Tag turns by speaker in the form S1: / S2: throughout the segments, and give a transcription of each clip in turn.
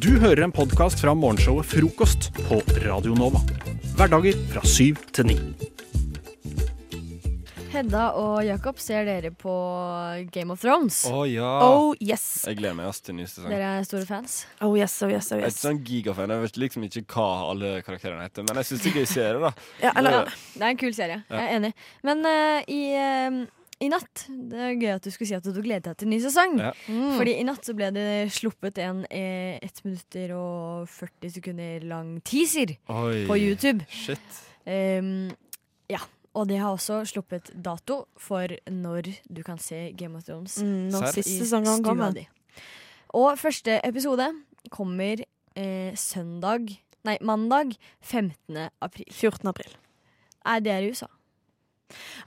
S1: Du hører en podkast fra morgenshowet Frokost på Radio Nova. Hverdager fra syv til ni.
S2: Hedda og Jakob, ser dere på Game of Thrones?
S3: Å ja.
S4: Oh yes.
S3: Jeg gleder meg ass til nyeste sesong.
S2: Dere er store fans?
S4: Oh yes, oh yes, oh
S3: Jeg er
S4: yes.
S3: ikke sånn gigafan. Jeg vet liksom ikke hva alle karakterene heter, men jeg syns det er gøy serie, da.
S4: Ja, eller,
S3: Det-
S2: Det er en kul serie. Jeg er enig. Men eh, i, eh, i natt Det er gøy at du skulle si at du gledet deg til ny sesong.
S3: Ja.
S4: mm.
S2: Fordi i natt så ble det sluppet en eh, 1 minutter og 40 sekunder lang teaser
S3: Oi.
S2: på YouTube.
S3: Shit.
S2: Ehm, ja. Og de har også sluppet dato for når du kan se Game of Thrones.
S4: Mm, Når
S3: Serr?
S4: siste
S2: i
S4: sesongen
S2: stua
S4: kommer.
S2: di. Og første episode kommer eh, søndag Nei, mandag 15. april.
S4: 14. april.
S2: Er dere i USA?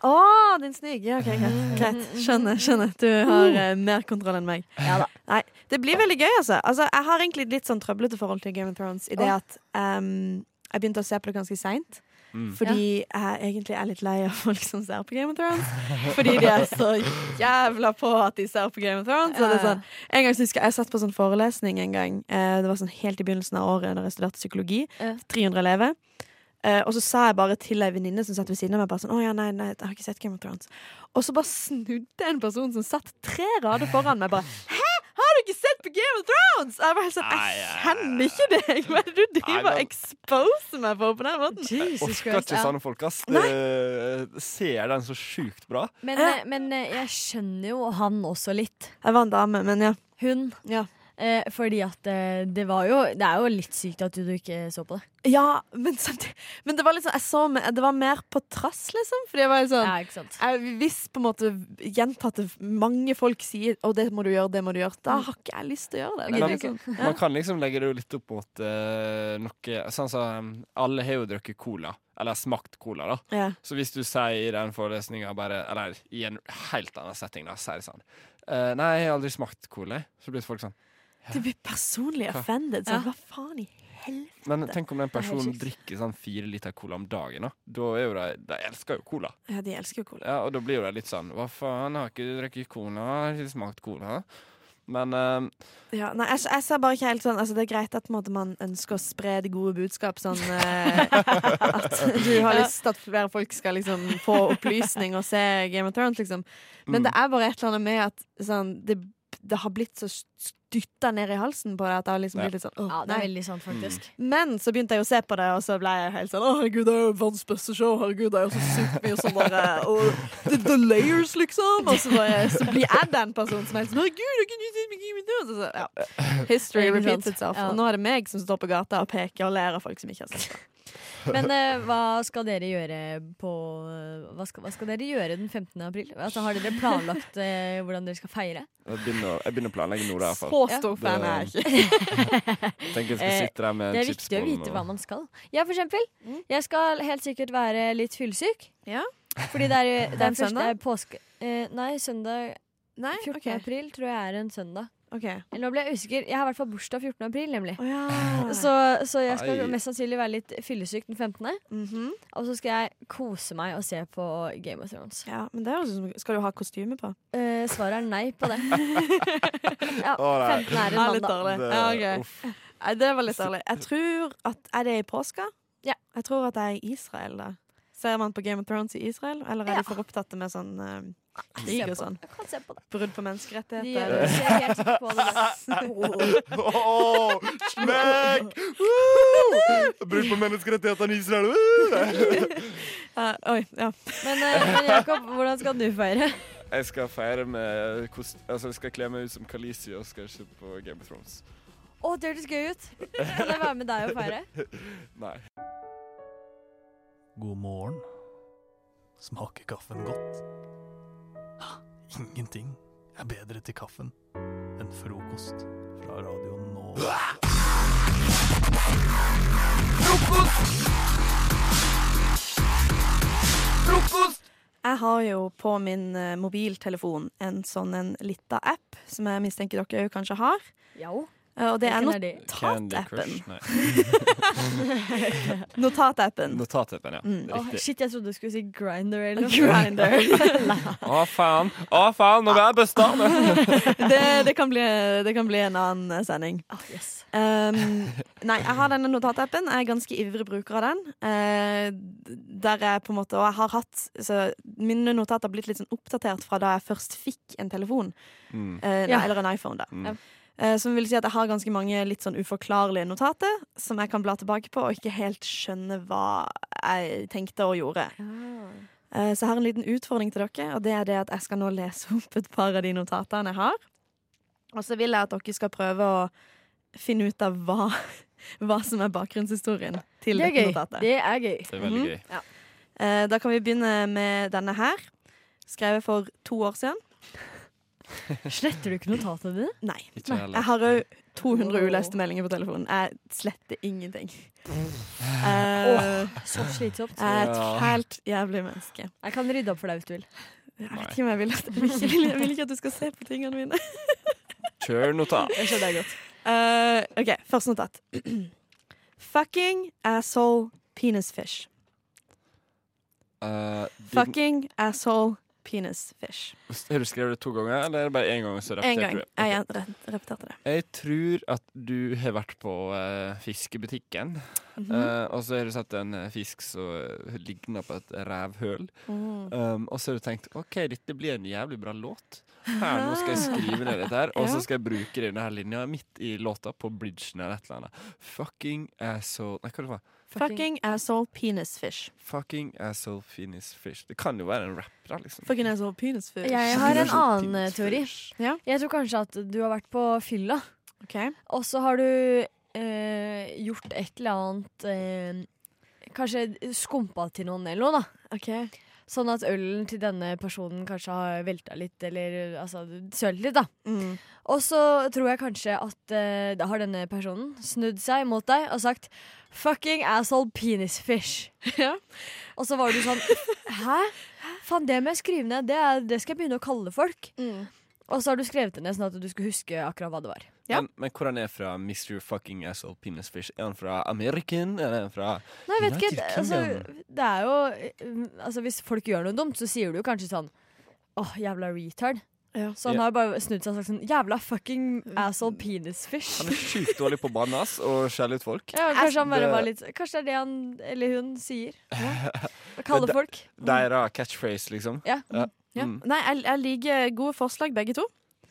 S4: Å, din snig! Ja, ok,
S2: Mm,
S4: greit. greit. Skjønner. skjønner Du har eh, mer kontroll enn meg.
S2: Uh. Ja da.
S4: Nei, Det blir veldig gøy, altså. altså. Jeg har egentlig litt sånn trøblete forhold til Game of Thrones i det at ehm, jeg begynte å se på det ganske seint.
S3: Mm.
S4: Fordi jeg egentlig er litt lei av folk som ser på Game of Thrones. Fordi de er så jævla på at de ser på Game of Thrones. Så det er sånn, en gang så husker jeg, jeg satt på sånn forelesning en gang. Eh, Det var sånn helt i begynnelsen av året da jeg studerte psykologi.
S2: Ja.
S4: 300 elever. Eh, og så sa jeg bare til ei venninne som satt ved siden av meg bare sånn, å ja, nei, nei, jeg har ikke sett Game of Thrones. Og så bare snudde en person som satt tre rader foran meg, bare Hæ, har du ikke sett på Game of Thrones?! Jeg var helt sånn,
S3: Nei,
S4: jeg
S3: ja,
S4: kjenner ikke deg! Hva er det du driver
S3: Nei,
S4: og
S3: men-
S4: exposer meg for på den måten?
S3: Jeg orker ikke sånne folk, ass. Det, ser den så sjukt bra.
S2: Men, eh, men eh, jeg skjønner jo han også litt.
S4: Jeg var en dame, men ja.
S2: Hun.
S4: Ja.
S2: Eh, fordi at eh, det var jo Det er jo litt sykt at du, du ikke så på det.
S4: Ja, men samtidig Men det var liksom, jeg så me- Det var mer på trass, liksom. Fordi jeg var litt sånn
S2: Ja, ikke sant?
S4: jeg, Hvis på en måte gjentatte mange folk sier 'Å, det må du gjøre, det må du gjøre', da
S2: Mm.
S4: har ikke jeg lyst til å gjøre det.
S3: Ok,
S4: det er
S3: men-
S4: sånn, ja.
S3: Man kan liksom legge det jo litt opp mot eh, noe Sånn som alle har jo drukket cola. Eller smakt cola, da.
S4: Ja.
S3: Så hvis du sier i den forelesninga bare Eller i en helt annen setting, da, sier sånn eh, Nei, jeg har aldri smakt cola. jeg." Så blir folk sånn
S4: Du blir personlig offended. Sånn, hva faen i helvete?
S3: Men tenk om
S2: er
S3: den
S2: helt
S3: personen
S2: sjukt.
S3: drikker sånn fire liter cola om dagen, da. Da er jo de De elsker jo cola.
S4: Ja, de elsker jo cola.
S3: Ja, og da blir jo de litt sånn Hva faen, har ikke du drukket cola? Har ikke smakt cola? Men eh,
S4: Ja, nei, jeg, jeg ser bare ikke helt sånn altså, Det er greit at på en måte, man ønsker å spre det gode budskap sånn eh, At du har lyst til at flere folk skal liksom få opplysning og se Game of Thrones, liksom. Men det er bare et eller annet med at sånn, det, det har blitt så dytta ned i halsen på deg at det har liksom blitt litt sånn åh,
S2: Ja, det
S4: nei. Mm.
S2: er veldig sant, faktisk.
S4: Men så begynte jeg å se på det, og så ble jeg helt sånn Å, herregud, det er jo verdens beste show. Herregud, det er jo så sykt mye sånn derre og the, the layers, liksom. Og så, bare, så blir jeg den personen som er helt sånn Herregud, jeg kunne ikke meg med det. Og så, ja. History
S2: Ikke sant?
S4: repeats itself.
S2: Ja.
S4: Og nå er det meg som står på gata og peker og ler av folk som ikke har sett det.
S2: Men eh, hva skal dere gjøre på eh, hva skal, hva skal dere gjøre den 15. april? Altså, har dere planlagt eh, hvordan dere skal feire?
S3: jeg begynner, jeg begner å planlegge nå, da, i hvert fall.
S4: Så stor fan er jeg ikke.
S3: Tenker jeg skal
S2: Eh,
S3: sitte der med
S2: Det
S3: en
S2: er viktig å
S3: chipsbolle
S2: vite
S3: og-
S2: hva man skal. Jeg for eksempel, jeg skal helt sikkert være litt fyllesyk.
S4: Mm. Ja.
S2: Fordi det er,
S4: Den
S2: det er første
S4: søndag?
S2: påske... eh, nei, søndag
S4: Nei,
S2: 14.
S4: OK.
S2: april tror jeg er en søndag.
S4: ok
S2: Eller nå ble jeg usikker. Jeg har i hvert fall bursdag 14. april, nemlig.
S4: Å ja.
S2: Så, så jeg skal
S3: Ai.
S2: mest sannsynlig være litt fyllesyk den 15.
S4: Mhm.
S2: Og så skal jeg kose meg og se på Game of Thrones.
S4: ja, men det høres ut som Skal du ha kostyme på?
S2: Eh, svaret er nei på det. ja,
S3: Å,
S2: 15 er
S3: nei.
S2: en
S4: Ja, litt
S2: mandag.
S4: dårlig.
S3: Det-
S4: Ja, ok.
S3: uff.
S4: Nei, det var litt dårlig. Jeg tror at Er det i påska?
S2: Ja.
S4: Jeg tror at det er i Israel, da. Ser man på Game of Thrones i Israel, eller er
S2: Ja.
S4: de for opptatte med sånn eh,
S2: Se
S4: krig og
S2: på-
S4: sånn?
S2: Jeg kan se på det.
S4: Brudd på
S2: De
S4: menneskerettigheter?
S2: eh, ser helt på det. der.
S3: Åh, smekk! Brudd på menneskerettighetene i Israel.
S4: Ja, oi, ja.
S2: Men, eh, men Jakob, hvordan skal du feire?
S3: Jeg skal feire med kost... Altså, jeg skal kle meg ut som Khaleesi og skal se på Game of Thrones.
S2: Å, det hørtes gøy ut! Kan jeg være med deg og feire?
S3: Nei.
S5: God morgen. Smaker kaffen godt? Ah, Ingenting er bedre til kaffen enn frokost fra radioen nå.
S4: Jeg har jo på min eh, mobiltelefon en sånn en lita app som jeg mistenker dere jo kanskje har.
S2: Jo.
S4: Eh, Og det er
S2: Hvilken er de?
S3: Candy
S4: notatappen.
S3: Crush? Nei.
S4: Notatappen.
S3: Notatappen, ja.
S4: Mm.
S2: Åh,
S3: Riktig.
S2: shit, jeg trodde du skulle si Grinder eller noe.
S4: Grinder.
S3: Å, faen! Å, faen! Nå blir jeg bestående!
S4: Det, det, kan bli, det kan bli en annen eh, sending.
S2: Ah, yes.
S4: Um, nei, jeg har denne notatappen. Jeg er ganske ivrig bruker av den. Eh, der jeg på en måte, og jeg har hatt så Mine notater har blitt litt sånn oppdatert fra da jeg først fikk en telefon.
S3: Mm.
S4: eh,
S2: Ja.
S4: Eller en iPhone, da.
S3: Mm.
S4: Eh, som vil si at jeg har ganske mange litt sånn uforklarlige notater som jeg kan bla tilbake på og ikke helt skjønne hva jeg tenkte og gjorde. Eh, Så jeg har en liten utfordring til dere, og det er det at jeg skal nå lese opp et par av de notatene jeg har. Og så vil jeg at dere skal prøve å finne ut av hva, hva som er bakgrunnshistorien til
S2: Det er
S4: dette
S2: gøy.
S4: notatet. Mhm.
S2: Det er gøy.
S3: Det er veldig gøy.
S4: Eh, Da kan vi begynne med denne her. Skrevet for to år siden.
S2: Sletter du ikke notatene dine?
S4: Nei.
S3: Ikke
S4: Jeg
S3: heller.
S4: har òg 200
S2: Wow.
S4: uleste meldinger på telefonen. Jeg sletter ingenting. Eh,
S2: Så slitsomt.
S4: jeg er et
S3: Ja.
S4: helt jævlig menneske.
S2: Jeg kan rydde opp for deg hvis du vil.
S4: Jeg
S3: Nei.
S4: vet ikke om jeg vil, at, jeg vil, ikke, jeg vil ikke at du skal se på tingene mine.
S3: Kjør notat.
S2: Jeg skjønner deg godt.
S4: Eh, OK, første notat. Fucking asshole penisfish.
S3: Eh, din-
S4: Fucking asshole penisfish.
S3: Har du skrevet det to ganger, eller er det bare én gang? Så
S4: En gang.
S3: repeterte du det?
S4: Jeg gjen- re- repeterte det.
S3: Jeg tror at du har vært på eh, fiskebutikken,
S4: Mhm.
S3: eh, og så har du sett en eh, fisk som eh, ligner på et rævhøl.
S4: Mm.
S3: Um, og så har du tenkt OK, dette blir en jævlig bra låt. Her, nå skal jeg skrive ned dette her, og så skal jeg bruke denne her linja midt i låta på bridgen eller et eller annet. Fucking asshole Nei, hva det var det?
S4: Fucking asshole penisfish.
S3: Fucking asshole penis fish. Det kan jo være en rap, da, liksom.
S4: Fucking asshole penisfish.
S2: Jeg har en annen eh,
S3: Penis
S2: teori.
S3: sånn fish.
S2: Jeg tror kanskje at du har vært på fylla,
S4: Ok.
S2: og så har du eh, gjort et eller annet eh, Kanskje skumpa til noen eller noe, da.
S4: Ok.
S2: Sånn at ølen til denne personen kanskje har velta litt, eller altså sølt litt, da.
S4: Mm.
S2: Og så tror jeg kanskje at eh, da har denne personen snudd seg mot deg og sagt 'fucking asshole penis fish'.
S4: Ja.
S2: Og så var du sånn 'hæ? Faen, det må jeg skrive ned. Det, er, det skal jeg begynne å kalle folk'.
S4: Mm.
S2: Og så har du skrevet det ned sånn at du skulle huske akkurat hva det var.
S4: Ja.
S3: Men, men hvor er han er fra Mr. Fucking Asshole Penis Fish? Er han fra American? Er han fra
S2: Nei, jeg vet
S3: United
S2: ikke. Altså,
S3: Kingdom.
S2: det er jo eh, Altså, hvis folk gjør noe dumt, så sier du jo kanskje sånn 'åh, jævla retard'.
S4: Ja.
S2: Så han
S3: Ja.
S2: har bare snudd seg og sagt sånn 'jævla fucking asshole penis fish'.
S3: Han er sjukt dårlig på banen ass, og skjeller ut folk.
S2: Ja, kanskje han bare
S3: Det-
S2: var litt Kanskje det er det han eller hun sier. Å kalle
S3: Men det-
S2: folk.
S3: Deres catchphrase, liksom.
S2: Mm. Ja.
S3: Ja.
S4: Ja.
S3: Mm,
S4: Nei, jeg, jeg liker gode forslag, begge to.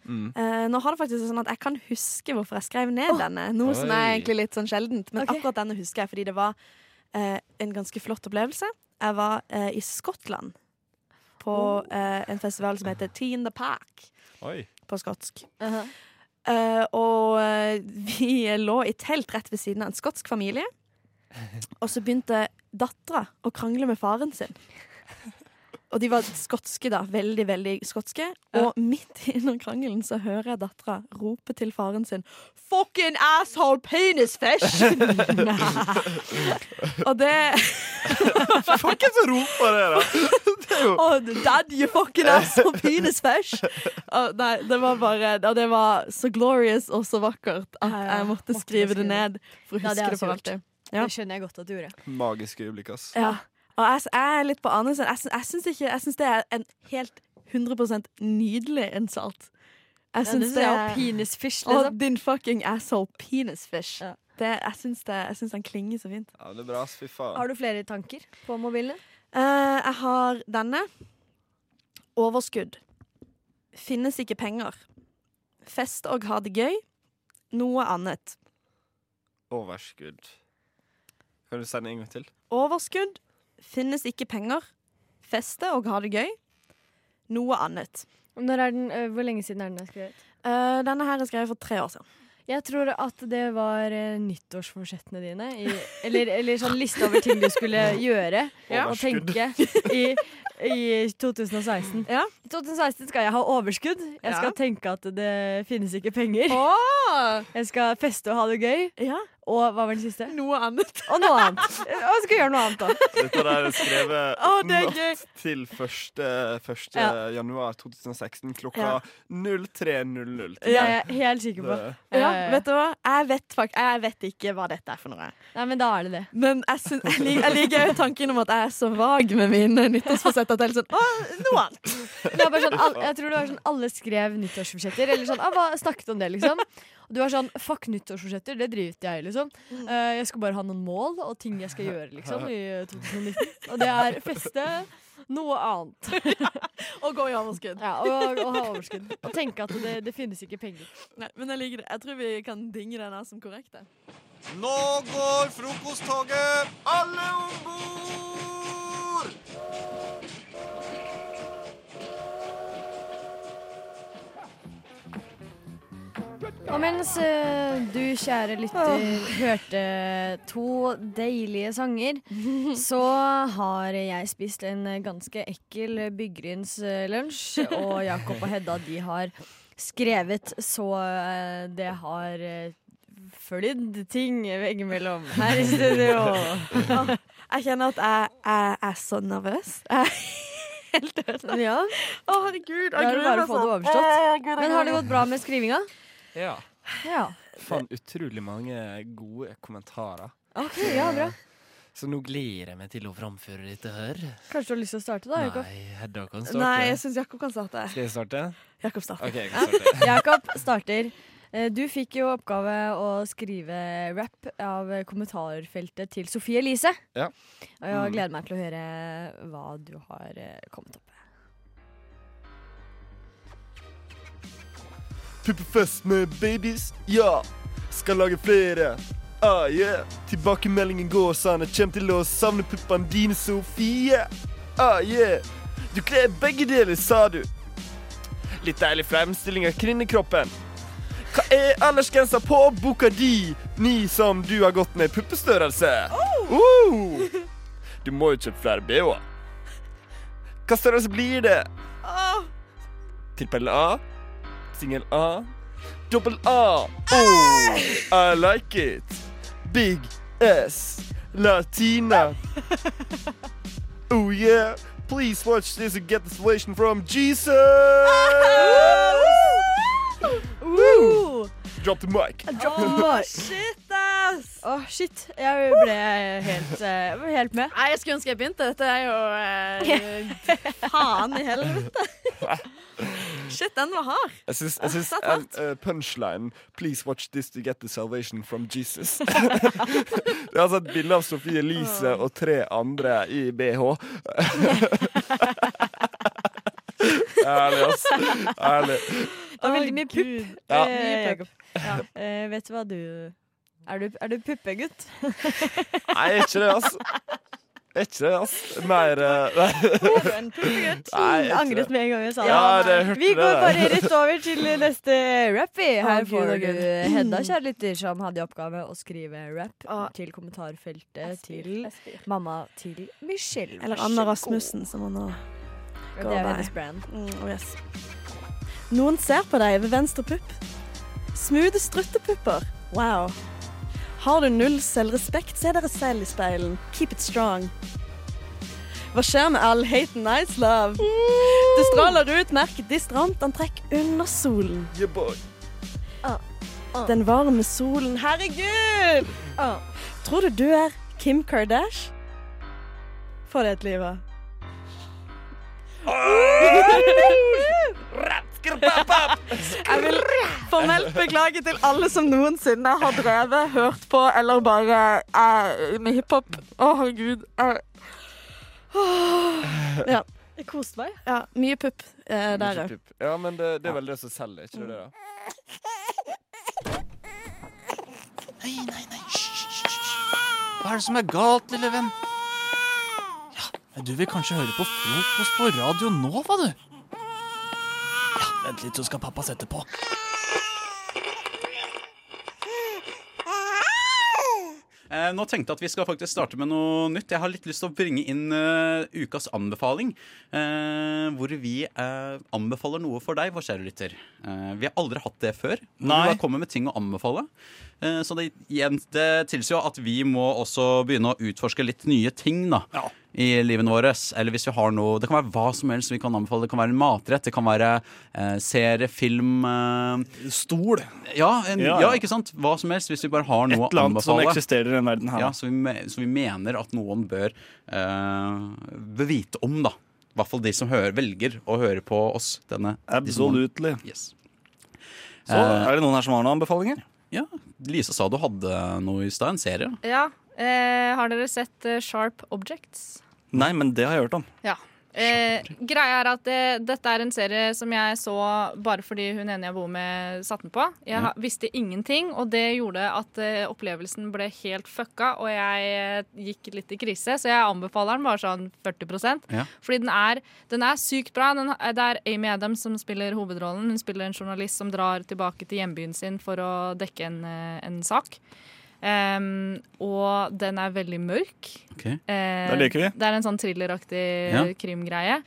S3: mm.
S4: Eh, nå har det faktisk sånn at Jeg kan huske hvorfor jeg skrev ned denne, noe som er
S3: Oi.
S4: egentlig litt sånn sjeldent. Men
S2: Ok.
S4: akkurat denne husker jeg fordi det var eh, en ganske flott opplevelse. Jeg var eh, i Skottland på
S2: Oh.
S4: eh, en festival som heter Tea in the Park
S3: Oi.
S4: på skotsk.
S2: Uh-huh.
S4: Eh, og eh, vi lå i telt rett ved siden av en skotsk familie. Og så begynte dattera å krangle med faren sin. Og de var skotske, da. Veldig, veldig skotske. Og midt under krangelen så hører jeg dattera rope til faren sin 'Fucking asshole penisfish!' og det
S3: Fuck, hvem som roper det, da?
S4: Oh, dad, you fucking asshole penis fish! Å, nei, det var bare Og det var så glorious og så vakkert at
S2: Ja, ja,
S4: jeg måtte
S2: måtte
S4: skrive det
S2: skrive.
S4: ned for å
S2: Ja,
S4: huske
S2: det har
S4: det for
S2: jeg også
S4: alltid. Ja.
S2: Det skjønner jeg godt at du gjorde.
S3: Magiske øyeblikk, ass.
S4: Ja. Og jeg, jeg er litt på anelsen. Jeg, sy- jeg syns ikke Jeg syns det er en helt 100 nydelig insult. Jeg
S2: Ja, det
S4: syns
S2: synes jeg er
S4: det er
S2: penis fish,
S4: Å,
S2: liksom.
S4: din fucking asshole penis fish.
S2: Ja.
S4: Det, jeg syns det- jeg syns den klinger så fint.
S3: Ja, det er bra, ass. Fy faen.
S2: Har du flere tanker på mobilen?
S4: Eh, jeg har denne. Overskudd. Finnes ikke penger. Fest og ha det gøy. Noe annet.
S3: Overskudd. Kan du sende en gang til?
S4: Overskudd. Finnes ikke penger. Feste og ha det gøy. Noe annet.
S2: Når er den, øh, hvor lenge siden er den jeg skrevet?
S4: Eh, denne her er skrevet for tre år siden.
S2: Jeg tror at det var øh, nyttårsforsettene dine. I, eller, eller sånn liste over ting du skulle gjøre
S3: Ja.
S2: og tenke i, i 2016.
S4: Ja.
S2: I 2016 skal jeg ha overskudd. Jeg skal
S4: Ja.
S2: tenke at det finnes ikke penger.
S4: Åh!
S2: Jeg skal feste og ha det gøy.
S4: Ja.
S2: Og hva var den siste?
S4: Noe annet.
S2: Og noe annet. Og skal gjøre noe annet, da.
S3: Dette der er skrevet
S4: Å, det er
S3: natt til 1. 1.
S2: Ja.
S3: januar 2016 klokka 03.00.
S2: Det er jeg helt sikker på. Eh. Ja,
S3: Det-
S4: Ja,
S2: ja, ja.
S4: vet du hva? Jeg vet, fakt jeg vet ikke hva dette er for noe.
S2: Nei, men da er det det.
S4: Men jeg, syn- jeg, lik, jeg liker jo tanken om at jeg er så vag med mine nyttårsforsett at jeg er litt sånn Å, noe annet.
S2: det var bare sånn, al- jeg tror det var sånn alle skrev nyttårsforsetter. Eller sånn, ah, hva snakket om det, liksom. Og du var sånn, fuck nyttårsforsetter, det driter jeg i, liksom. Eh, jeg skal bare ha noen mål og ting jeg skal gjøre, liksom, i eh, 2019. Og det er feste, noe annet.
S4: Og gå i overskudd.
S2: Ja, og, og ha overskudd. Og tenke at det, det finnes ikke penger.
S4: Nei, men jeg liker det. Jeg tror vi kan dinge den her som korrekt. jeg.
S6: Nå går frokosttoget! Alle om bord!
S2: Og mens eh, du, kjære lytter, hørte to deilige sanger, så har jeg spist en ganske ekkel byggrynslunsj. Og Jakob og Hedda de har skrevet så eh, det har eh, flydd ting veggimellom her i studio.
S4: Jeg kjenner at jeg, jeg er så nervøs. Jeg er helt ødelagt.
S2: Ja,
S4: Å, herregud. altså. Eh, Jeg
S2: Da er det bare å få det overstått. Men har det gått bra med skrivinga?
S3: Ja.
S2: Ja.
S3: Faen, utrolig mange gode kommentarer. eh,
S2: Ok, ja, bra.
S3: Så nå gleder jeg meg til å framføre dette her.
S2: Kanskje du har lyst til å starte, da, Jakob?
S3: Nei, Hedda kan starte.
S4: Nei, jeg syns Jakob kan starte.
S3: Skal jeg starte?
S4: Jakob starter.
S3: OK, jeg kan starte.
S2: Jakob starter. Eh, Du fikk jo oppgave å skrive rap av kommentarfeltet til Sofie Elise.
S3: Ja.
S2: Og jeg
S3: Mm.
S2: gleder meg til å høre hva du har eh, kommet opp med.
S6: Puppefest med babies, ja. Skal lage flere. Ah, yeah. Tilbakemeldingen går sånn. Jeg kommer til å savne puppene dine, Sofie. Ah, yeah. Du kler begge deler, sa du. Litt deilig fremstilling av kvinnekroppen. Hva er aldersgrensa på boka di, ni som du har gått med puppestørrelse? Oh. Du må jo kjøpe flere bh-er. Hva størrelse blir det? Trippel A? Singel A. Dobbel A. Oh, I like it. Big S. Latina. Oh yeah. Please watch this and get inspiration from Jesus. Woo. Drop the mic.
S2: Åh,
S4: Shit, ass!
S2: shit. Jeg ble helt, eh, jeg ble helt med.
S4: Nei, jeg skulle ønske jeg begynte. Dette er jo eh, faen i helvete. Shit, den var hard.
S6: Jeg syns,
S2: Ah,
S6: jeg syns
S4: Satt hardt.
S6: eh, punchline Please watch this to get the salvation from Jesus. det er altså et bilde av Sofie
S2: Ah.
S6: Elise og tre andre i BH. Ærlig, ass. Ærlig.
S2: Det var veldig mye pupp.
S6: Ja.
S2: eh,
S4: Mye
S2: Jakob. Eh, vet du hva du Er du, er du puppegutt?
S6: Nei, jeg er ikke det, ass. Jeg Er ikke det, ass. Mer eh, Nei, nei jeg
S2: Jeg
S6: er ikke
S2: angret
S6: det.
S2: med en gang jeg sa det.
S6: Ja, det jeg hørte
S2: Vi
S6: det.
S2: går bare rett over til neste rap. vi. Her
S4: Å, Gud,
S2: får
S4: å,
S2: du
S4: Gud.
S2: Hedda, kjære lytter, som hadde i oppgave å skrive rap
S4: Å.
S2: til kommentarfeltet til mamma til Michelle.
S4: Eller
S2: Vær
S4: Anna
S2: så
S4: Rasmussen, som han nå
S2: god.
S4: går
S2: Det er
S4: by.
S2: hennes brand.
S4: mm, oh, yes. Noen ser på deg ved venstre pupp. Smoothe struttepupper. Wow. Har du null selvrespekt, se dere selv i speilen. Keep it strong. Hva skjer med all hate and nice love? Det stråler ut merket distrant antrekk under solen.
S6: Yeah, boy.
S4: Den varme solen. Herregud! Å, Tror du du er Kim Kardashian? Få deg et liv, da. Jeg vil formelt beklage til alle som noensinne har drevet, hørt på eller bare er med hiphop. Å, herregud. eh. Åh. Ja.
S2: Jeg koste meg.
S4: ja. Mye pupp eh, der
S3: Mye
S4: òg.
S3: pupp. Ja, men det, det er vel det som selger, ikke det? da?
S5: Nei, nei, nei. Hysj, hysj, hysj. Hva er det som er galt, lille venn? Ja, men du vil kanskje høre på frokost på Radio Nova, du? Ja, vent litt, så skal pappa sette på.
S7: Eh, nå tenkte jeg at vi skal faktisk starte med noe nytt. Jeg har litt lyst til å bringe inn eh, ukas anbefaling. eh, hvor vi eh, anbefaler noe for deg, vår kjære lytter. Eh, vi har aldri hatt det før. hvor
S5: Nei.
S7: Vi bare kommer med ting å anbefale. Eh, så det, igjen, det tilsier jo at vi må også begynne å utforske litt nye ting da,
S5: Ja.
S7: i livene våre. Eller hvis vi har noe Det kan være hva som helst vi kan anbefale. Det kan være en matrett, det kan være eh, serie, film eh,
S5: Stol.
S7: ja, en,
S5: Ja,
S7: ja,
S5: ja.
S7: ikke sant? Hva som helst, hvis vi bare har
S5: Et
S7: noe å
S5: eller annet som
S7: anbefale.
S5: eksisterer i den verden her.
S7: Ja, så vi, me- så vi mener at noen bør eh, bør vite om, da. I hvert fall de som hører, velger å høre på oss. Denne, disse morgenene.
S5: Absolutely.
S7: Yes. Eh,
S5: Så er det noen her som har noen anbefalinger?
S7: Ja, Lise sa du hadde noe i stad, en serie.
S8: Ja. Eh, har dere sett eh, Sharp Objects?
S5: Nei, men det har jeg hørt om.
S8: Eh, greia er at eh, dette er en serie som jeg så bare fordi hun ene jeg bor med, satte den på. Jeg ha- visste ingenting, og det gjorde at eh, opplevelsen ble helt fucka, og jeg eh, gikk litt i krise, så jeg anbefaler den bare sånn 40
S7: Ja.
S8: Fordi den er, den er sykt bra. Den, er- det er Amy Adams som spiller hovedrollen. Hun spiller en journalist som drar tilbake til hjembyen sin for å dekke en, eh, en sak. Em, og den er veldig mørk.
S7: Ok.
S8: Eh,
S5: Da liker vi.
S8: Det er en sånn thrilleraktig
S7: Ja.
S8: krimgreie.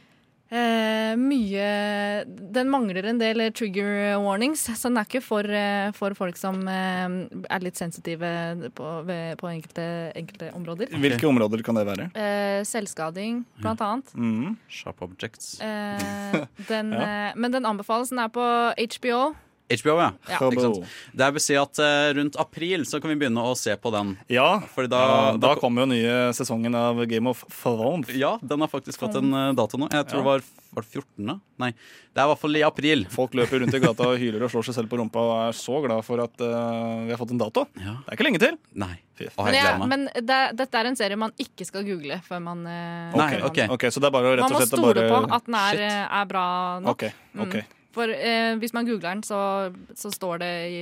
S8: Eh, mye Den mangler en del trigger warnings, så den er ikke for, eh, for folk som eh, er litt sensitive på, ved, på enkelte, enkelte områder.
S5: Hvilke områder kan det være?
S8: Eh, selvskading, blant annet.
S5: Mm.
S7: Sharp Objects.
S8: Eh, den, eh, men den anbefales. Den er på HBO.
S7: HBO, ja.
S8: Ja.
S7: Ikke sant? Det vil si at eh, rundt april så kan vi begynne å se på den.
S5: Ja,
S7: Fordi
S5: da,
S7: da,
S5: da kommer jo nye sesongen av Game of Thrones.
S7: Ja, den har faktisk fått en eh, dato nå. Jeg tror det var, var det 14. Nei, det er i hvert fall i april.
S5: Folk løper rundt i gata og hyler og slår seg selv på rumpa og er så glad for at eh, vi har fått en dato.
S7: Ja.
S5: Det er ikke lenge til.
S7: Nei.
S5: Fy
S8: Men,
S7: Å, jeg
S8: jeg,
S7: gleder meg.
S8: men det, dette er en serie man ikke skal google før man eh,
S7: Nei,
S8: før man-
S7: ok.
S5: Ok, Så det er bare å rett
S8: Man
S5: og
S8: må
S5: slett å
S8: stole
S5: bare
S8: på at den er,
S7: Shit.
S8: eh, er bra nok. Mm.
S5: Ok, ok.
S8: For eh, hvis man googler den, så, så står det i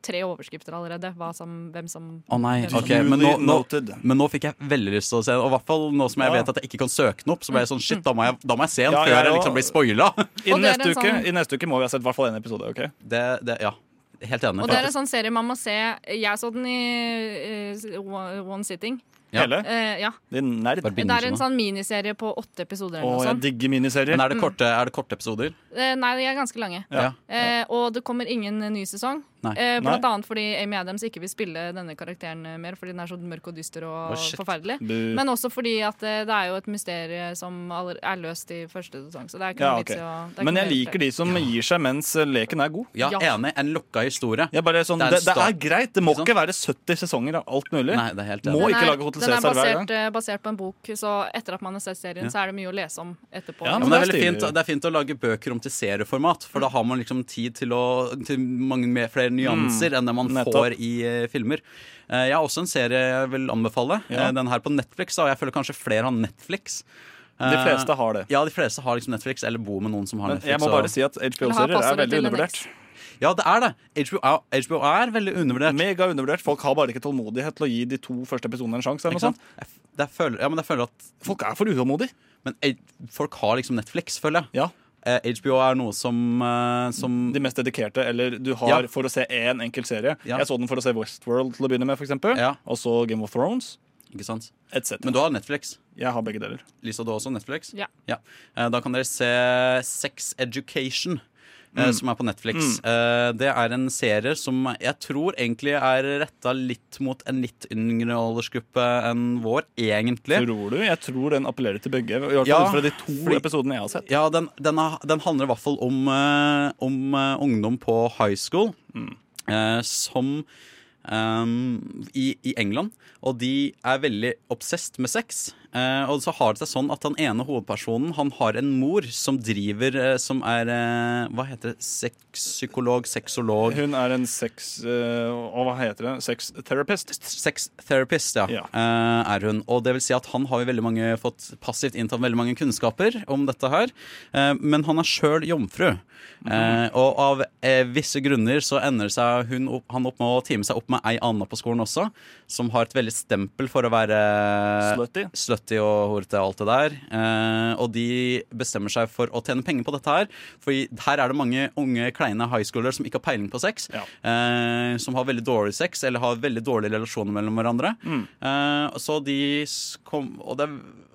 S8: tre overskrifter allerede hva som, hvem som
S7: Å nei,
S8: Tusen
S7: ok, men nå, nå,
S5: noted.
S7: men nå fikk jeg veldig lyst til å se den. Og i hvert fall nå som jeg
S5: Ja.
S7: vet at jeg ikke kan søke den opp, så ble jeg sånn shit, da må jeg, da må jeg se den
S5: Ja,
S7: før
S5: jeg
S7: jeg
S5: også.
S7: liksom blir spoila.
S5: I
S8: Og det er
S5: neste,
S8: en
S5: uke,
S8: sånn-
S5: I neste uke må vi ha sett i hvert fall en episode. ok?
S7: Det, det, ja. Helt enig.
S8: Og det er en sånn serie man må se. Jeg så den i eh, one one sitting.
S7: Ja.
S5: Hele?
S8: Eh, ja.
S5: Din nerd.
S7: Bare
S8: Det
S7: binge
S8: er en
S7: nå.
S8: sånn Mm. miniserie på åtte
S5: Å,
S8: episoder eller noe
S5: jeg
S8: sånt.
S5: digger miniserier.
S7: Men er det korte, er det korte episoder?
S8: Eh, nei, de er ganske lange.
S7: Ja.
S8: Eh, og det kommer ingen ny sesong.
S7: Nei.
S8: Eh, blant
S5: Nei.
S8: annet fordi Amy Adams ikke vil spille denne karakteren eh, mer, fordi den er så mørk og dyster og
S7: Å, shit.
S8: forferdelig.
S5: Bu.
S8: Men også fordi at eh, det er jo et mysterium som aller- er løst i første sesong. Så det er ikke
S5: Ja,
S8: noe
S5: ok.
S8: vits i å det er ikke
S5: Men
S8: noe
S5: jeg
S8: vits i
S5: liker de som gir seg mens leken er god.
S7: Ja,
S8: Ja.
S7: enig. En lukka historie.
S5: Jeg bare sånn,
S7: Det er en
S5: det, det er
S7: start.
S5: greit. Det må
S7: Ikke sant?
S5: ikke være 70 sesonger av alt mulig.
S7: Nei, det er helt
S5: Må
S7: enig.
S5: ikke lage Hotel
S8: den er
S5: Cæsar hver
S8: basert, eh, basert på en bok, så etter at man har sett serien, så er det mye å lese om etterpå.
S5: Ja,
S7: Ja, men det, er
S5: Det er
S7: veldig fint,
S5: stilig.
S7: det er fint å lage bøker om til serieformat, for da har man liksom tid til, å, til mange mer, flere nyanser enn det man
S5: Mm. nettopp.
S7: får i eh, filmer. Eh, jeg har også en serie jeg vil anbefale.
S5: Ja.
S7: Eh, den her på Netflix. Da. Jeg føler kanskje flere har Netflix.
S5: De
S7: Eh,
S5: fleste har det.
S7: Ja, de fleste har liksom Netflix, eller bor med noen som har
S5: Men
S7: Netflix.
S5: jeg må
S7: og-
S5: bare si at HBO-serier
S8: passordet
S5: er veldig
S8: til en
S5: undervurdert.
S7: Ja, det er det. HBO er, HBO er veldig undervurdert.
S5: Mega undervurdert. Folk har bare ikke tålmodighet til å gi de to første episodene en sjanse. eller
S7: Ikke
S5: noe
S7: sant?
S5: sånt.
S7: Jeg, f- det er føler, ja, men jeg føler at
S5: Folk er for utålmodige.
S7: Men eh, folk har liksom Netflix, føler jeg.
S5: Ja.
S7: Eh, HBO er noe som, eh, som
S5: De mest dedikerte. Eller du har
S7: Ja.
S5: for å se én enkelt serie.
S7: Ja.
S5: Jeg så den for å se Westworld til å begynne med, for eksempel.
S7: Ja.
S5: Og så Game of Thrones
S7: Ikke sant?
S5: etc.
S7: Men du har Netflix.
S5: Jeg har begge deler.
S7: Lisa, du har også Netflix?
S8: Ja.
S7: Eh, Da kan dere se Sex Education.
S5: Mm.
S7: eh, Som er på Netflix. Eh, Det er en serie som jeg tror egentlig er retta litt mot en litt yngre aldersgruppe enn vår, egentlig.
S5: Tror du? Jeg tror den appellerer til begge. I hvert fall
S7: Ja,
S5: ut fra de to
S7: fordi-
S5: episodene jeg har sett.
S7: Ja, den, den, har- den handler i hvert fall om, eh, om eh, ungdom på high school
S5: Mm.
S7: eh, som ehm, i, i England. Og de er veldig obsessed med sex. Eh, og så har det seg sånn at den ene hovedpersonen han har en mor som driver eh, Som er eh, Hva heter det? Sexpsykolog? Sexolog?
S5: Hun er en sex... eh, og hva heter det? Sextherapist.
S7: sex therapist, ja,
S5: Ja.
S7: eh, er hun. Og det vil si at han har jo veldig mange fått passivt inntatt veldig mange kunnskaper om dette her. Eh, men han er sjøl jomfru. Eh, og av eh, visse grunner så ender seg hun opp, han opp med å time seg opp med ei anna på skolen også, som har et veldig stempel for å være
S5: Slutty.
S7: slutty og horete og alt det der. Eh, og de bestemmer seg for å tjene penger på dette her. For her er det mange unge, kleine highschoolere som ikke har peiling på sex.
S5: Ja.
S7: Eh, som har veldig dårlig sex, eller har veldig dårlige relasjoner mellom hverandre.
S5: Mm.
S7: Eh, så de s- kom, og, det,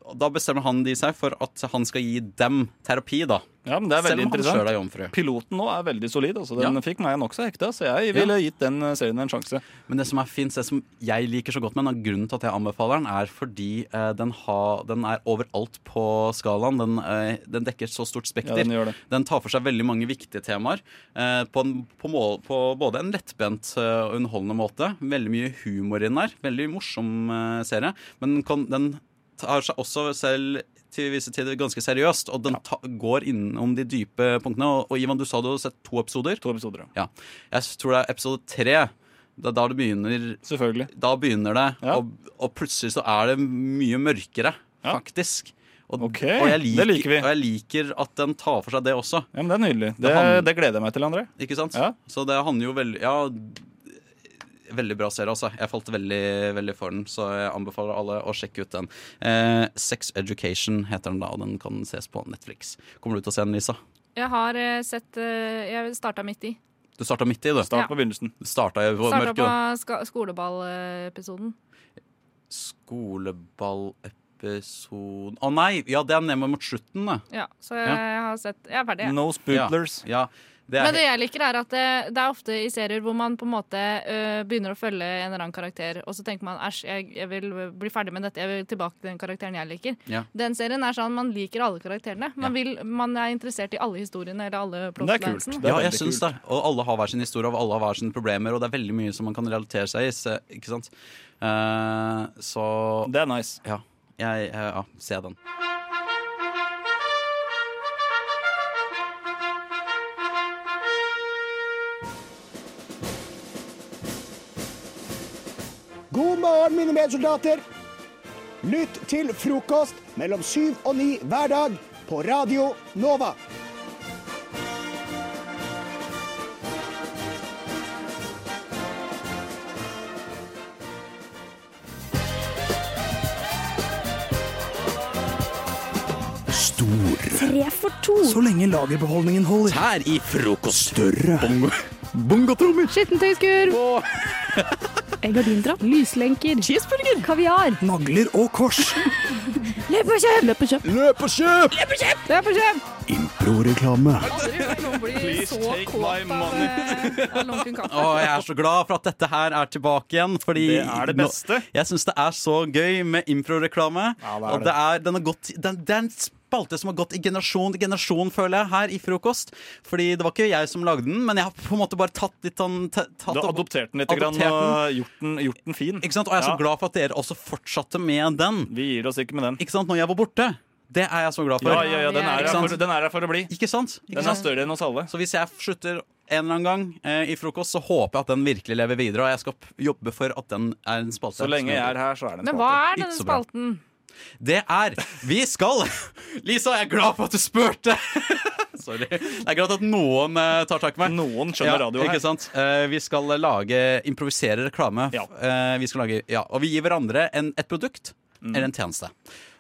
S7: og da bestemmer han de seg for at han skal gi dem terapi, da.
S5: Ja, men det er
S7: Selv
S5: veldig
S7: om han sjøl
S5: interessant.
S7: er jomfru.
S5: Piloten nå er veldig solid. Altså. Den
S7: Ja.
S5: fikk meg nokså hekta, så jeg ville gitt den eh, serien en sjanse.
S7: Men det som er fint, det som jeg liker så godt med den, og grunnen til at jeg anbefaler den, er fordi eh, den, har- den er overalt på skalaen. Den, eh, den dekker et så stort
S5: Ja,
S7: spekter.
S5: den gjør det.
S7: Den tar for seg veldig mange viktige temaer. Eh, på, en, på, mål, på både en lettbent eh, og underholdende måte. Veldig mye humor i den der. Veldig morsom eh, serie. Men den, kan, den tar seg også selv til visse tider ganske seriøst. Og den ta, går innom de dype punktene. Og, og Ivan, du sa du hadde sett to episoder.
S5: To episoder, ja.
S7: Ja. Jeg tror det er episode tre. Det er da det begynner
S5: Selvfølgelig.
S7: da begynner det,
S5: Ja.
S7: og, og plutselig så er det mye mørkere,
S5: Ja.
S7: faktisk. Og,
S5: Ok,
S7: og, jeg liker,
S5: det liker vi.
S7: og jeg liker at den tar for seg det også.
S5: Ja, men Det er nydelig. Det,
S7: Det handler-
S5: det gleder jeg meg til, André.
S7: Ikke sant?
S5: Ja.
S7: Så det handler jo veldig Ja, veldig bra serie, altså. Jeg falt veldig, veldig for den, så jeg anbefaler alle å sjekke ut den. Eh, Sex Education heter den da, og den kan ses på Netflix. Kommer du til å se den, Lisa?
S8: Jeg har eh, sett eh, Jeg starta midt i.
S7: Du starta midt i, du.
S5: Start
S8: Ja.
S5: på begynnelsen.
S7: Du starta jo på
S8: Starta
S7: mørket.
S8: på
S7: da.
S8: ska- eh, skoleballepisoden.
S7: Skoleballepisode Å nei! Ja, det er ned mot slutten, det.
S8: Ja, så jeg, har sett Jeg er ferdig, jeg.
S5: No spootlers.
S7: Ja, det
S8: Men
S7: er
S8: det jeg liker, er at det, det er ofte i serier hvor man på en måte øh, begynner å følge en eller annen karakter, og så tenker man æsj, jeg, jeg vil bli ferdig med dette, jeg vil tilbake til den karakteren jeg liker.
S7: Ja.
S8: Den serien er sånn man liker alle karakterene. Man, vil, man er interessert i alle historiene eller alle
S5: Men det er kult.
S8: plottlinesene.
S5: Det er
S7: ja, jeg
S5: veldig
S7: syns
S5: kult.
S7: det. Og alle har hver sin historie, og alle har hver sine problemer, og det er veldig mye som man kan relatere seg i. se- Ikke sant? Eh, så
S5: Det er nice.
S7: ja, jeg, eh, ja, se den.
S9: God morgen, mine medsoldater. Lytt til frokost mellom syv og ni hver dag på Radio Nova. Stor.
S10: Tre for to.
S9: Så lenge lagerbeholdningen holder.
S7: Her i frokost
S9: Større.
S7: Bongo. Bongotrommer!
S10: Skittentøyskur.
S7: Åh.
S10: Gardindrapp. Lyslenker. Cheeseburger. Kaviar.
S9: Nagler og kors.
S10: Løp og kjøp. Løp og kjøp.
S9: Løp og kjøp!
S10: Løp og kjøp.
S9: Improreklame.
S8: Aldri hørt noen bli
S5: Please
S8: så
S5: take
S8: kåt
S5: my
S8: av, eh, av lunken kaffe.
S7: Og jeg er så glad for at dette her er tilbake igjen. Fordi
S5: Det er det beste.
S7: Nå, jeg syns det er så gøy med improreklame.
S5: Ja, det er
S7: og det er, den har gått den, det er en spalte som har gått i generasjon til generasjon, føler jeg, her i Frokost. Fordi det var ikke jeg som lagde den, men jeg har på en måte bare tatt litt sånn ta- tatt
S5: Du har
S7: opp-
S5: adoptert den litt grann,
S7: adoptert
S5: eh, og gjort den, gjort den fin.
S7: Ikke sant? Og jeg er så
S5: Ja.
S7: glad for at dere også fortsatte med den.
S5: Vi gir oss ikke med den.
S7: Ikke sant? Når jeg var borte. Det er jeg så glad for.
S5: Ja, ja, ja, den er
S7: Ikke
S5: her
S7: sant?
S5: for, den er her for å bli.
S7: Ikke sant? Ikke
S5: Den er
S7: sant?
S5: større enn oss alle.
S7: Så hvis jeg slutter en eller annen gang eh, i frokost, så håper jeg at den virkelig lever videre. Og jeg skal p- jobbe for at den er en spalte.
S5: Så lenge jeg er her, så er det en
S8: Men hva
S5: spalte.
S8: er denne
S7: Ikke så bra.
S8: spalten?
S7: Det er Vi skal Lisa, jeg er glad for at du spurte! Sorry. Det er greit at noen eh, tar tak i meg.
S5: Noen skjønner radio
S7: ikke
S5: her.
S7: sant? Eh, vi skal lage improvisere reklame.
S5: Ja.
S7: Eh, vi skal lage, ja, og vi gir hverandre en, et produkt
S5: Mm.
S7: eller en tjeneste.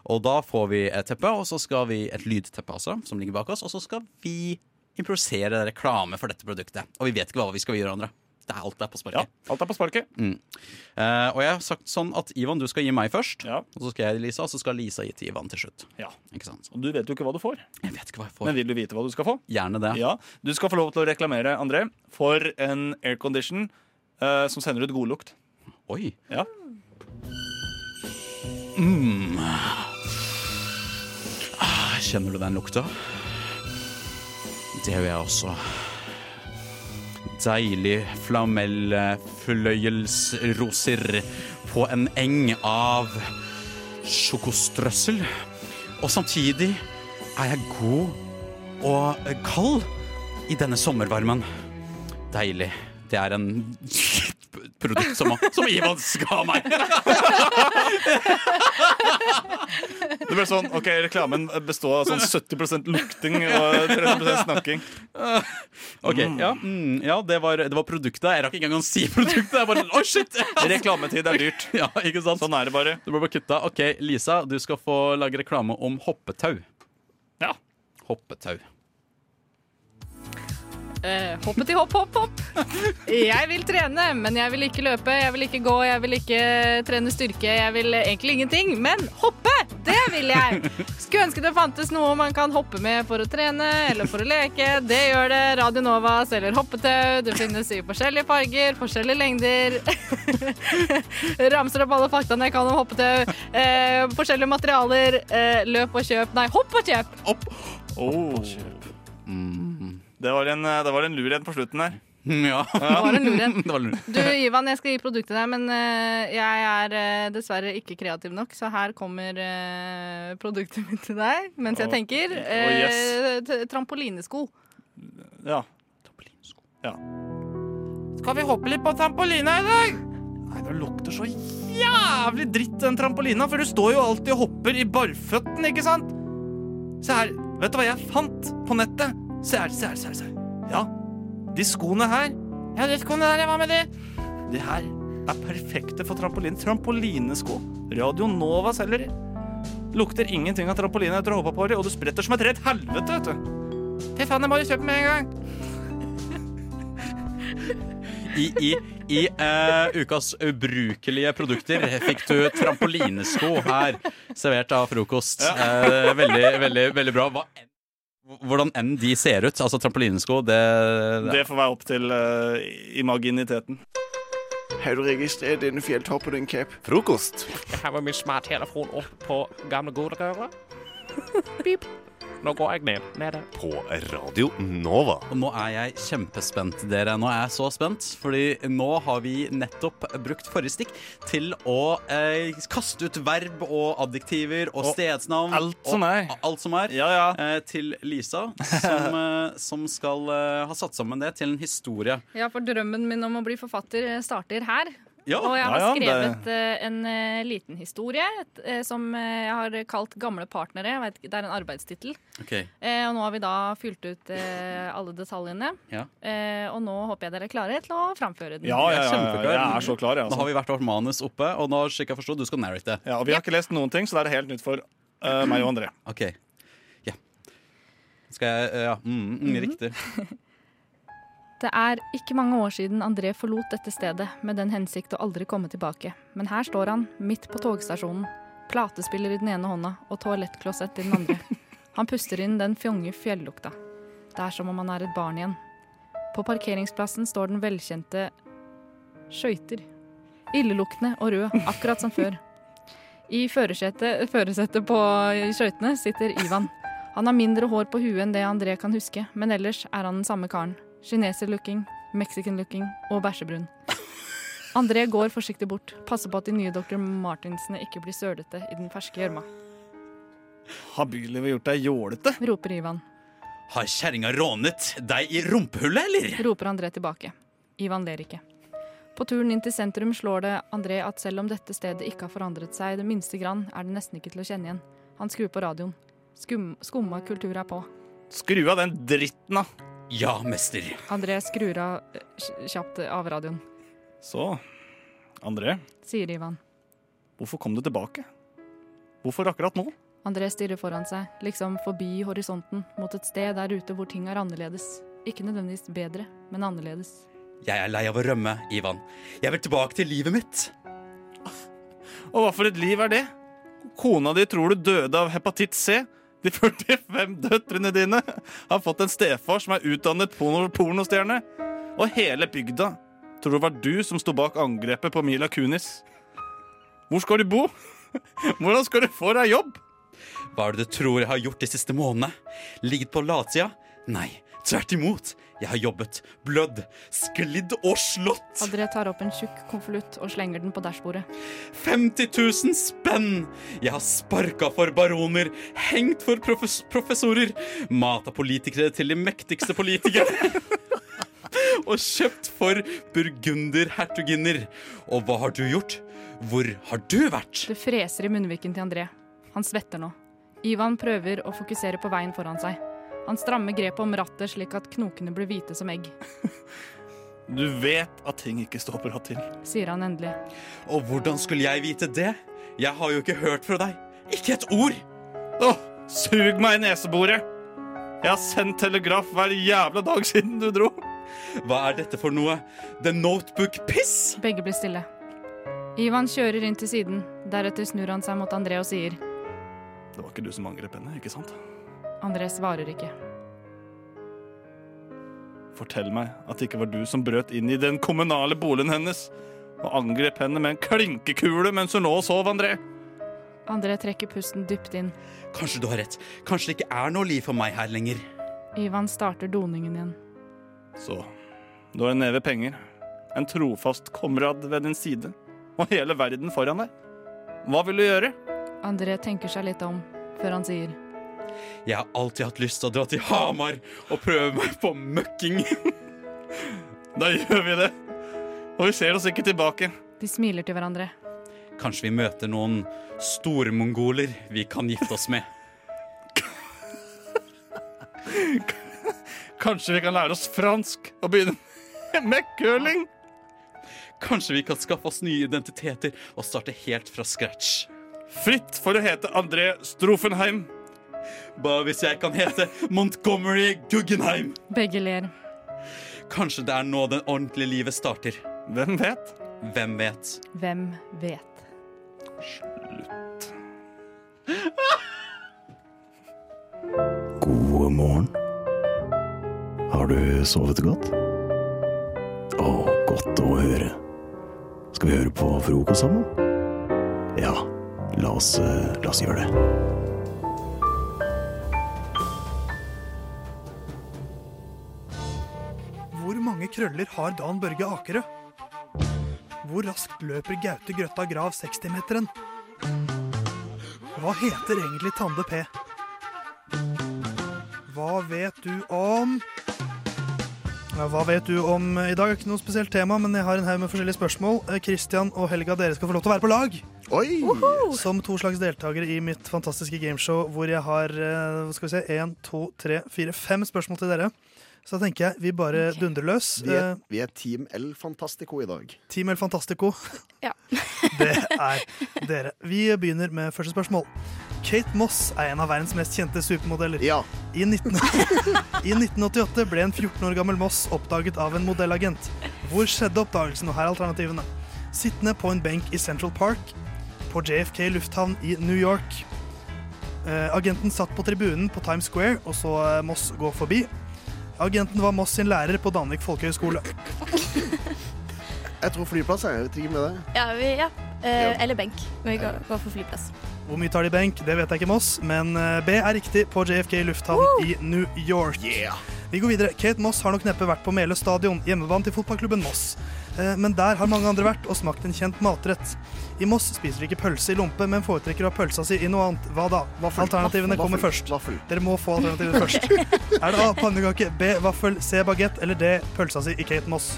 S7: Og da får vi et teppe, og så skal vi et lydteppe også, som ligger bak oss. Og så skal vi improvisere reklame for dette produktet. Og vi vet ikke hva vi skal gi hverandre. Det er alt det er på
S5: Ja,
S7: sparket.
S5: alt er på sparket.
S7: Eh, og jeg har sagt sånn at Ivan, du skal gi meg først.
S5: Ja.
S7: Og så skal jeg gi Lisa, og så skal Lisa gi til Ivan til slutt.
S5: Ja.
S7: Ikke sant?
S5: Og du vet jo ikke hva du får.
S7: Jeg vet ikke hva jeg får.
S5: Men vil du vite hva du skal få?
S7: Gjerne det.
S5: Ja, Du skal få lov til å reklamere, André, for en aircondition eh, som sender ut godlukt.
S7: Oi.
S5: Ja.
S7: Mm. Ah, Kjenner du den lukta? Det gjør jeg også. Deilig flamellfløyelsroser på en eng av sjokostrøssel. Og samtidig er jeg god og kald i denne sommervarmen. Deilig. Det er en produkt som, som Ivan skal ha meg!
S11: Det ble sånn, ok, Reklamen består av sånn 70 lukting og 30 snakking.
S7: Ok, ja, mm, ja det, var, det var produktet. Jeg rakk ikke engang å si produktet. Jeg bare, oh shit
S11: Reklametid er dyrt.
S7: ja, ikke sant?
S11: Sånn er det bare.
S7: Det ble bare kutta. Ok, Lisa, du skal få lage reklame om hoppetau.
S11: Ja.
S7: Hoppetau.
S8: Eh, hoppeti hopp, hopp, hopp. Jeg vil trene, men jeg vil ikke løpe, jeg vil ikke gå, jeg vil ikke trene styrke. Jeg vil egentlig ingenting, men hoppe! Det vil jeg! Skulle ønske det fantes noe man kan hoppe med for å trene eller for å leke. Det gjør det. Radio Nova selger hoppetau. Det finnes i forskjellige farger, forskjellige lengder. Ramser opp alle faktaene jeg kan om hoppetau. Eh, forskjellige materialer. Eh, løp og kjøp. Nei, hopp og kjøp!
S11: Oh. Det, var en, eh, det var en lur en på slutten der.
S7: Mm. Ja.
S8: Det var en lur en.
S7: Det var lurt.
S8: Du, Ivan, jeg skal gi produktet deg, men eh, jeg er eh, dessverre ikke kreativ nok, så her kommer eh, produktet mitt til deg mens
S11: Å,
S8: jeg tenker.
S11: å,
S8: Eh, t- Trampolinesko.
S11: Ja.
S5: Skal vi hoppe litt på trampolina i dag? Nei, det lukter så jævlig dritt den trampolina, for du står jo alltid og hopper i barføtten, ikke sant? Se her, vet du hva jeg fant på nettet? Se her, se her, se her. Se her. Ja, de skoene her. Ja, de skoene der, hva med de? De her er perfekte for trampoline. Trampolinesko. Radio Nova selger de. Lukter ingenting av trampoline etter å ha hoppa på de, og du spretter som et rett helvete, vet du. Fy faen, jeg må jo kjøpe med en gang.
S7: I, i, i eh, ukas ubrukelige produkter fikk du trampolinesko her, servert av frokost. Eh, veldig, veldig, veldig bra. Hva, enn- hvordan enn de ser ut, altså trampolinesko, det,
S11: Det får være opp til eh, imaginiteten.
S9: Har du registrert denne fjelltoppen din, Cap?
S11: Frokost.
S5: Jeg har min smarttelefon opp på gamle godrøret. Pip. Nå går jeg ned. Nede.
S12: På Radio Nova.
S7: Og nå er jeg kjempespent, dere. Nå er jeg så spent, fordi nå har vi nettopp brukt forrige stikk til å eh, kaste ut verb og adjektiver og,
S11: Og
S7: stedsnavn.
S11: alt som
S7: og
S11: er.
S7: Alt som er.
S11: Ja, ja.
S7: Eh, til Lisa, som, eh, som skal eh, ha satt sammen det til en historie.
S8: Ja, for drømmen min om å bli forfatter eh, starter her.
S7: Ja,
S8: Og jeg har
S11: ja, ja, det-
S8: skrevet eh, en eh, liten historie et, eh, som eh, jeg har kalt 'Gamle partnere'. Jeg vet, ikke, det er en arbeidstittel.
S7: Ok,
S8: Eh, og nå har vi da fylt ut eh, alle detaljene.
S7: Ja.
S8: Eh, og nå håper jeg dere er klare til å framføre den.
S11: Ja, ja, ja, ja, jeg er så klar, jeg.
S7: Nå
S11: Altså.
S7: har vi hvert vårt manus oppe, og nå slik jeg forstår, du skal narrate det.
S11: Ja, og vi har ikke lest noen ting, så det er helt nytt for eh, meg og André.
S7: Ok, ja. Skal jeg, eh, ja, mm, mm, riktig.
S8: Det er ikke mange år siden André forlot dette stedet med den hensikt å aldri komme tilbake. Men her står han, midt på togstasjonen. Platespiller i den ene hånda og toalettklosett i den andre. Han puster inn den fjonge fjellukta. Det er som om han er et barn igjen. På parkeringsplassen står den velkjente skøyter. Illeluktende og rød, akkurat som før. I førersetet førersetet på skøytene sitter Ivan. Han har mindre hår på huet enn det André kan huske, men ellers er han den samme karen. Kineser-looking, mexican-looking og bæsjebrun. André går forsiktig bort, passer på at de nye Dr. Martinsene ikke blir sølete i den ferske gjørma,
S11: Har bylivet gjort deg jålete?
S8: roper Ivan.
S7: Har kjerringa rånet deg i rumpehullet, eller?
S8: Roper André tilbake. Ivan ler ikke. På turen inn til sentrum slår det André at selv om dette stedet ikke har forandret seg det minste grann, er det nesten ikke til å kjenne igjen. Han skrur på radioen. Skum, skumma kultur er på.
S11: Skru av den dritten, da.
S7: Ja, mester.
S8: André skrur av eh, kj- kjapt av radioen,
S11: Så, André,
S8: sier Ivan.
S11: hvorfor kom du tilbake? Hvorfor akkurat nå?
S8: André stirrer foran seg, liksom forbi horisonten, mot et sted der ute hvor ting er annerledes. Ikke nødvendigvis bedre, men annerledes.
S7: Jeg er lei av å rømme, Ivan. Jeg vil tilbake til livet mitt.
S11: Og hva for et liv er det? Kona di tror du døde av hepatitt C. De 45 døtrene dine har fått en stefar som er utdannet porno pornostjerne. Og hele bygda tror det var du som sto bak angrepet på Mila Kunis. Hvor skal du bo? Hvordan skal du få deg jobb?
S7: Hva er det du tror jeg har gjort de siste månedene? Ligget på latsida? Nei, tvert imot. Jeg har jobbet, blødd, sklidd og slått.
S8: André tar opp en tjukk konvolutt og slenger den på dashbordet.
S7: 50 000 spenn! Jeg har sparka for baroner, hengt for profes professorer, mata politikere til de mektigste politikerne. og kjøpt for burgunderhertuginner. Og hva har du gjort? Hvor har du vært?
S8: Det freser i munnviken til André. Han svetter nå. Ivan prøver å fokusere på veien foran seg. Han strammer grepet om rattet slik at knokene blir hvite som egg,
S11: Du vet at ting ikke står bra til.
S8: sier han endelig.
S7: Og hvordan skulle jeg vite det? Jeg har jo ikke hørt fra deg. Ikke et ord!
S11: Åh, sug meg i neseboret! Jeg har sendt telegraf hver jævla dag siden du dro.
S7: Hva er dette for noe? The Notebook-piss?
S8: Begge blir stille. Ivan kjører inn til siden. Deretter snur han seg mot André og sier
S11: Det var ikke du som angrep henne, ikke sant?
S8: André svarer ikke.
S11: Fortell meg at det ikke var du som brøt inn i den kommunale boligen hennes og angrep henne med en klinkekule mens hun lå og sov, André.
S8: André trekker pusten dypt inn.
S7: Kanskje du har rett. Kanskje det ikke er noe liv for meg her lenger.
S8: Ivan starter doningen igjen.
S11: Så, du har en neve penger, en trofast komrad ved din side, og hele verden foran deg. Hva vil du gjøre?
S8: André tenker seg litt om før han sier
S7: Jeg har alltid hatt lyst til å dra til Hamar og prøve meg på møkking.
S11: Da gjør vi det. Og vi ser oss ikke tilbake.
S8: De smiler til hverandre.
S7: Kanskje vi møter noen stormongoler vi kan gifte oss med.
S11: Kanskje vi kan lære oss fransk og begynne med curling?
S7: Kanskje vi kan skaffe oss nye identiteter og starte helt fra scratch.
S11: Fritt for å hete André Strofenheim.
S7: Bare hvis jeg kan hete Montgomery Guggenheim.
S8: Begge ler.
S7: Kanskje det er nå det ordentlige livet starter.
S11: Hvem vet?
S7: Hvem vet?
S8: Hvem vet?
S13: God morgen. Har du sovet godt? Å, godt å høre. Skal vi høre på frokost sammen? Ja, la oss, eh, la oss gjøre det.
S14: Hvor mange krøller har Dan Børge Akerø? Hvor raskt løper Gaute Grøtta Grav 60-meteren? Hva heter egentlig Tande P? Hva vet du om ja, Hva vet du om I dag er ikke noe spesielt tema, men jeg har en haug med forskjellige spørsmål. Eh, Christian og Helga, dere skal få lov til å være på lag. Som to slags deltakere i mitt fantastiske gameshow hvor jeg har eh, hva skal vi se, én, to, tre, fire, fem spørsmål til dere. Så da tenker jeg vi bare dundrer løs.
S15: Vi er,
S14: Eh,
S15: vi er Team El Fantastico i dag.
S14: Team El Fantastico.
S10: Ja.
S14: Det er dere. Vi begynner med første spørsmål. Kate Moss er en av verdens mest kjente supermodeller. I, 19... I 1988 ble en 14 år gammel Moss oppdaget av en modellagent. Hvor skjedde oppdagelsen, og her er alternativene. Sittende på en benk i Central Park, på JFK lufthavn i New York. Eh, agenten satt på tribunen på Times Square og så eh, Moss gå forbi. Agenten var Moss sin lærer på Danvik folkehøgskole.
S15: Jeg tror flyplass er et team med det.
S16: Ja, vi, ja. Eh, Eller benk. Men vi går, går for flyplass.
S14: Hvor mye tar de benk? Det vet jeg ikke med oss, men eh, B er riktig på JFK lufthavn i New York. Vi går videre. Kate Moss har nok neppe vært på Meløs stadion, hjemmebane til fotballklubben Moss. Eh, Men der har mange andre vært og smakt en kjent matrett. I Moss spiser de ikke pølse i lompe, men foretrekker å ha pølsa si i noe annet. Hva da? Alternativene
S15: Vaffel,
S14: kommer først. Dere må få alternativet først. Er det A pannekake, B vaffel, C bagett eller D pølsa si i Kate Moss?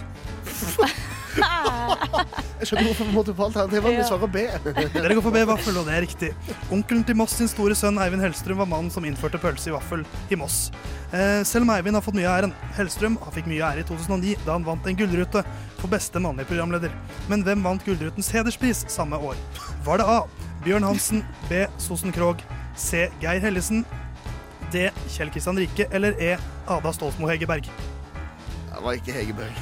S15: Jeg skjønner hvorfor vi måtte på alternativene. Vi svarer B.
S14: Dere går for B-vaffel, og det er riktig. Onkelen til Moss sin store sønn Eivind Hellstrøm var mannen som innførte pølse i vaffel i Moss. Eh, selv om Eivind har fått mye av æren. Hellstrøm han fikk mye ære i 2009 da han vant en gullrute for beste mannlige programleder. Men hvem vant Gullrutens hederspris samme år? Var det A. Bjørn Hansen, B. Sosen Krogh, C. Geir Hellesen, D. Kjell Kristian Rike eller E. Ada Stoltmo Hegerberg?
S15: Det var ikke Hegerberg.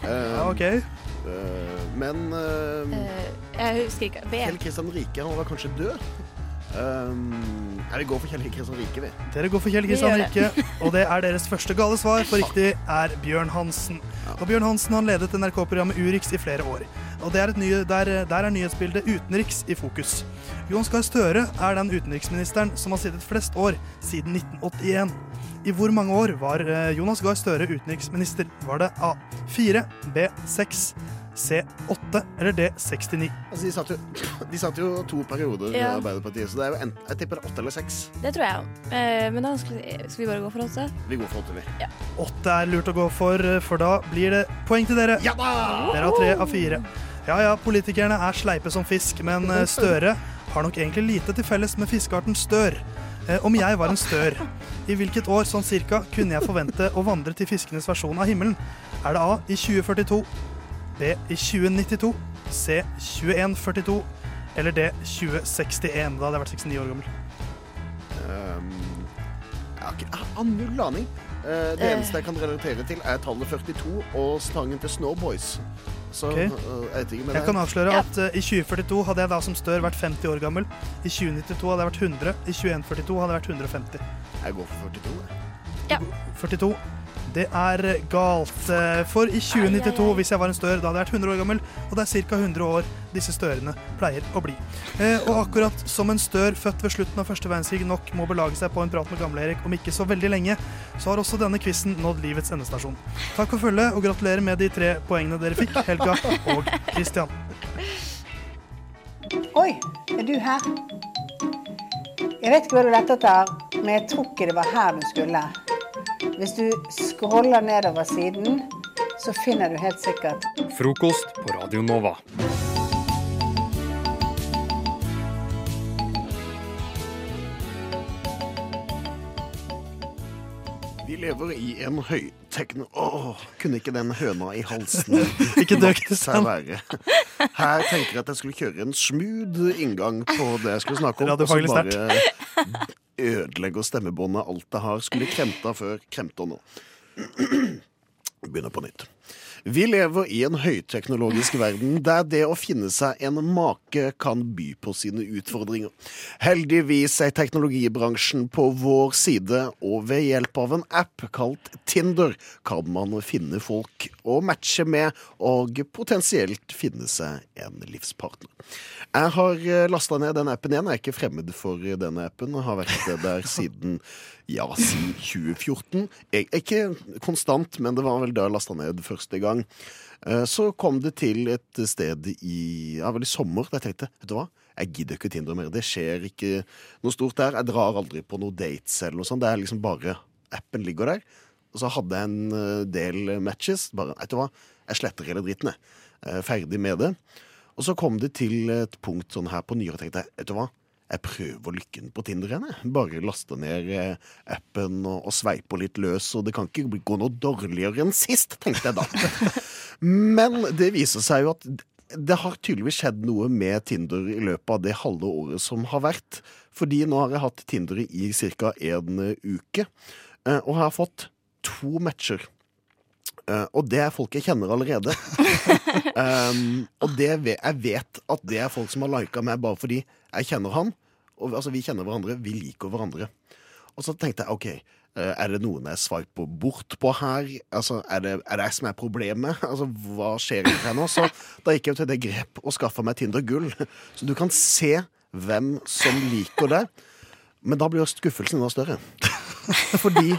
S15: Um,
S14: Ja, ok.
S15: Eh, men eh,
S16: Jeg husker ikke. B.
S15: Kjell Kristian Rike han var kanskje død. Um, nei, vi går for Kjell Kristian Rike, vi.
S14: Dere går for Kjell
S15: Vi
S14: Kristian
S15: gjør det.
S14: Rike, og det er deres første gale svar, for riktig er Bjørn Hansen. Og Bjørn Hansen han ledet NRK-programmet Urix i flere år. Og det er et nye, der, der er nyhetsbildet utenriks i fokus. Jonas Gahr Støre er den utenriksministeren som har sittet flest år siden 1981. I hvor mange år var eh, Jonas Gahr Støre utenriksminister? Var det A4, B6, C8 eller D69?
S15: Altså, de, satt jo, de satt jo to perioder med
S16: Ja.
S15: Arbeiderpartiet, så det er jo enten, jeg tipper det er åtte eller seks.
S16: Det tror jeg òg. Men da skal vi, skal vi bare gå for åtte.
S15: Vi går for åtte, vi.
S14: Åtte er lurt å gå for, for da blir det poeng til dere. Dere har tre av fire. Ja ja, politikerne er sleipe som fisk, men eh, Støre har nok egentlig lite til felles med fiskearten stør. Eh, Om jeg var en stør, i hvilket år sånn cirka kunne jeg forvente å vandre til fiskenes versjon av himmelen? Er det A i 2042, B i 2092, C 2142 eller D 2061? Da hadde jeg vært 69 år gammel.
S15: Um, jeg har ikke- jeg har null aning. Eh, det
S14: Eh.
S15: eneste jeg kan relatere til, er tallet 42 og sangen til Snowboys. Så
S14: Ok.
S15: eh, jeg vet ikke, men
S14: Jeg kan avsløre at eh, i 2042 hadde jeg da som stør vært 50 år gammel. I 2092 hadde jeg vært 100. I 2142 hadde jeg vært 150.
S15: Jeg går for 42. jeg.
S14: 42. Det er galt. eh, For i 2092, hvis jeg var en stør, da hadde jeg vært 100 år gammel. Og det er ca. 100 år disse størene pleier å bli. Eh, Og akkurat som en stør født ved slutten av første verdenskrig nok må belage seg på en prat med Gamle-Erik om ikke så veldig lenge, så har også denne quizen nådd livets endestasjon. Takk for følget, og gratulerer med de tre poengene dere fikk, Helga og Christian.
S17: Oi, er du her? Jeg vet ikke hva du lette etter, men jeg tror ikke det var her du skulle. Hvis du scroller nedover siden, så finner du helt sikkert
S18: Frokost på Radio Nova.
S15: Vi lever i en høytekno... Åh, kunne ikke den høna i halsen
S14: Ikke dø,
S15: latt
S14: Kristian.
S15: seg være? Her tenker jeg at jeg skulle kjøre en smooth inngang på det jeg skulle snakke om. og så
S14: Radiofaglig
S15: bare ødelegge og stemmebåndet alt det har. Skulle kremta før, kremta nå. Vi begynner på nytt. Vi lever i en høyteknologisk verden der det å finne seg en make kan by på sine utfordringer. Heldigvis er teknologibransjen på vår side, og ved hjelp av en app kalt Tinder kan man finne folk å matche med og potensielt finne seg en livspartner. Jeg har lasta ned den appen igjen. Jeg er ikke fremmed for denne appen. Jeg har vært der siden ja, siden 2014. Jeg, ikke konstant, men det var vel da jeg lasta ned første gang. Eh, Så kom det til et sted i ja, vel i sommer da jeg tenkte vet du hva, jeg gidder ikke Tinder mer. Det skjer ikke noe stort der. Jeg drar aldri på noen dates eller noe sånt. Det er liksom bare appen ligger der. Og så hadde jeg en eh, del matches. Bare, vet du hva, jeg sletter hele dritten, jeg. Eh, Ferdig med det. Og så kom det til et punkt sånn her på nyere, tenkte jeg, vet du hva? Jeg prøver lykken på Tinder igjen, jeg. Bare laste ned eh, appen og, og sveipe litt løs, og det kan ikke bli- gå noe dårligere enn sist, tenkte jeg da. Men det viser seg jo at det har tydeligvis skjedd noe med Tinder i løpet av det halve året som har vært. Fordi nå har jeg hatt Tinder i ca. en eh, uke, eh, og jeg har fått to matcher. Eh, og det er folk jeg kjenner allerede. um, og det, ve- jeg vet at det er folk som har lika meg bare fordi jeg kjenner han. Og, altså, vi kjenner hverandre, vi liker hverandre. Og så tenkte jeg OK, eh, er det noen jeg sveiper bort på her? Altså, er, det, er det jeg som er problemet? Altså, Hva skjer egentlig her nå? Så da gikk jeg jo til det grep og skaffa meg Tinder gull. Så du kan se hvem som liker deg. Men da blir jo skuffelsen enda større. Fordi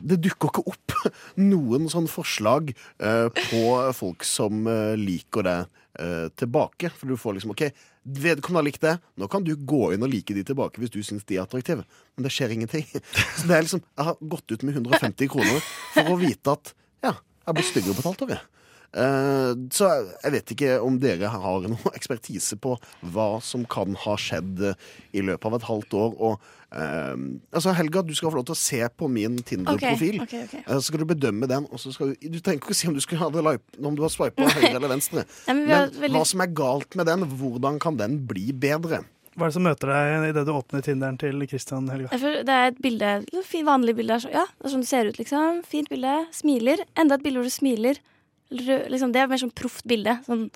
S15: det dukker ikke opp noen sånn forslag eh, på folk som eh, liker deg eh, tilbake. For du får liksom OK, vedkommende har likt deg, nå kan du gå inn og like de tilbake hvis du syns de er attraktive. Men det skjer ingenting. Så det er liksom, jeg har gått ut med 150 kroner for å vite at ja, jeg blir styggere betalt av det. Eh, Så jeg vet ikke om dere har noe ekspertise på hva som kan ha skjedd eh, i løpet av et halvt år. Og, eh, altså Helga, du skal få lov til å se på min Tinder-profil.
S16: Ok, ok, ok.
S15: Eh, Så skal du bedømme den. Og så skal du, du trenger ikke å si om du, skulle ha det li- om du har swipa høyre eller venstre.
S16: Nei, men
S15: men
S16: vi har veldig-
S15: hva som er galt med den, hvordan kan den bli bedre?
S14: Hva er det som møter deg idet du åpner Tinderen til Christian Helga?
S16: Jeg føler Det er et bilde, et fint, vanlig bilde. er så- Ja, det er sånn det ser ut, liksom. Fint bilde. Smiler. Enda et bilde hvor du smiler. Rød, liksom, det er mer sånn proft bilde. Sånn,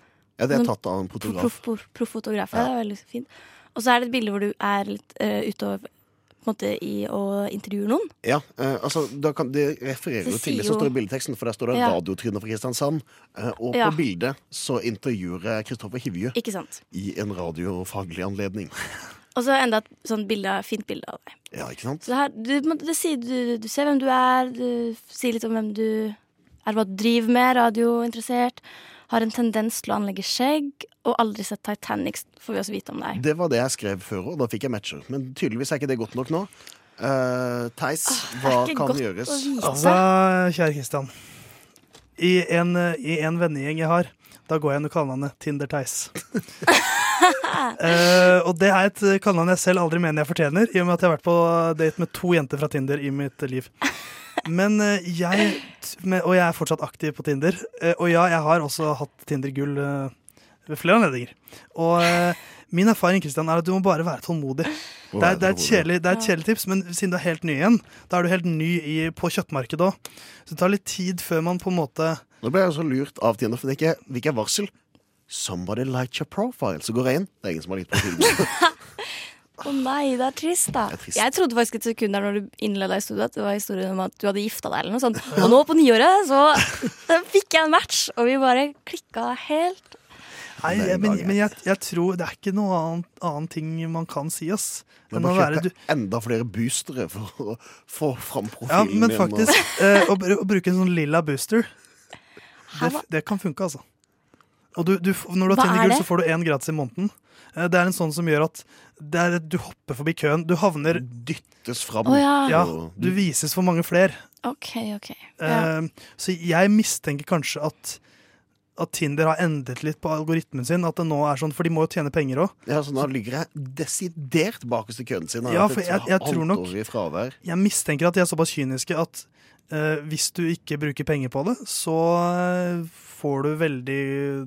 S15: Ja, det er
S16: sånn
S15: tatt av en fotograf.
S16: Proff proff- proff fotograf, ja. Det er veldig fint. Og så er det et bilde hvor du er litt eh, ute og på en måte i og intervjuer noen.
S15: Ja, eh, altså da kan, Det refererer
S16: Det
S15: jo til det
S16: sier
S15: som
S16: jo-
S15: står i bildeteksten, for der står det
S16: Ja.
S15: radiotrynet fra Kristiansand. eh, og
S16: Ja.
S15: på bildet så intervjuer jeg Kristoffer Hivju
S16: Ikke sant.
S15: i en radiofaglig anledning.
S16: Og så enda et sånn bilde, fint bilde av deg.
S15: Ja, ikke sant?
S16: Så det her, du, på en måte, det sier, du, du ser hvem du er, du sier litt om hvem du er, hva du driver med, radiointeressert. har en tendens til å anlegge skjegg, og aldri sett Titanic, får vi også vite om deg.
S15: Det var det jeg skrev før, og da fikk jeg matcher. Men tydeligvis er ikke det godt nok nå. Uh, Theis, hva
S16: ikke
S15: kan
S16: godt
S15: gjøres?
S14: Altså, kjære Kristian. I en, eh, i en vennegjeng jeg har, da går jeg under kallenavnet Tinder-Theis. Eh, og det er et eh, kallenavn jeg selv aldri mener jeg fortjener, i og med at jeg har vært på date med to jenter fra Tinder i mitt liv. Men eh, jeg t- men- Og jeg er fortsatt aktiv på Tinder. Eh, og ja, jeg har også hatt Tinder-gull eh, ved flere anledninger. Og eh, min erfaring Kristian, er at du må bare være tålmodig.
S15: Må
S14: Det er,
S15: være
S14: det er et
S15: tålmodig.
S14: kjedelig det er et kjedelig tips, men siden du er helt ny igjen, da er du helt ny i, på kjøttmarkedet òg. Så det tar litt tid før man på en måte
S15: Nå ble jeg så lurt av Tinder, for det ikke- det ikke er varsel. Somebody liked your profile. Så går jeg inn. Det er ingen som har likt profilen.
S16: Å nei, det er trist, da.
S15: trist.
S16: Jeg trodde faktisk et sekund der når du innleda i studio at det var historien om at du hadde gifta deg eller noe sånt. Og nå på nyåret så fikk jeg en match, og vi bare klikka helt.
S14: Nei, jeg, men, men jeg, jeg tror det er ikke noe annet, annen ting man kan si, ass.
S15: Jeg
S14: Enn
S15: må
S14: å være
S15: kjøpe enda flere boostere for å få fram profilen
S14: Ja, men
S15: min, og-
S14: faktisk, eh, å, br- å bruke en sånn lilla booster, det, f- det kan funke, altså. Og du, du, f- når du
S15: Hva
S14: har
S15: er
S14: Tinder-gull,
S15: det?
S14: så får du én gratis i måneden. Eh, Det er en sånn som gjør at det er, du hopper forbi køen. Du havner
S15: Dyttes fram.
S16: Å, ja.
S14: Du vises for mange flere.
S16: OK, OK. Ja.
S14: Eh, Så jeg mistenker kanskje at at Tinder har endret litt på algoritmen sin. At det nå er sånn, For de må jo tjene penger òg.
S15: Ja, så nå ligger jeg desidert bakerst i køen sin.
S14: Ja, for jeg, jeg tror nok
S15: Halvt år i fravær.
S14: Jeg mistenker at de er såpass kyniske at eh, hvis du ikke bruker penger på det, så eh, får du veldig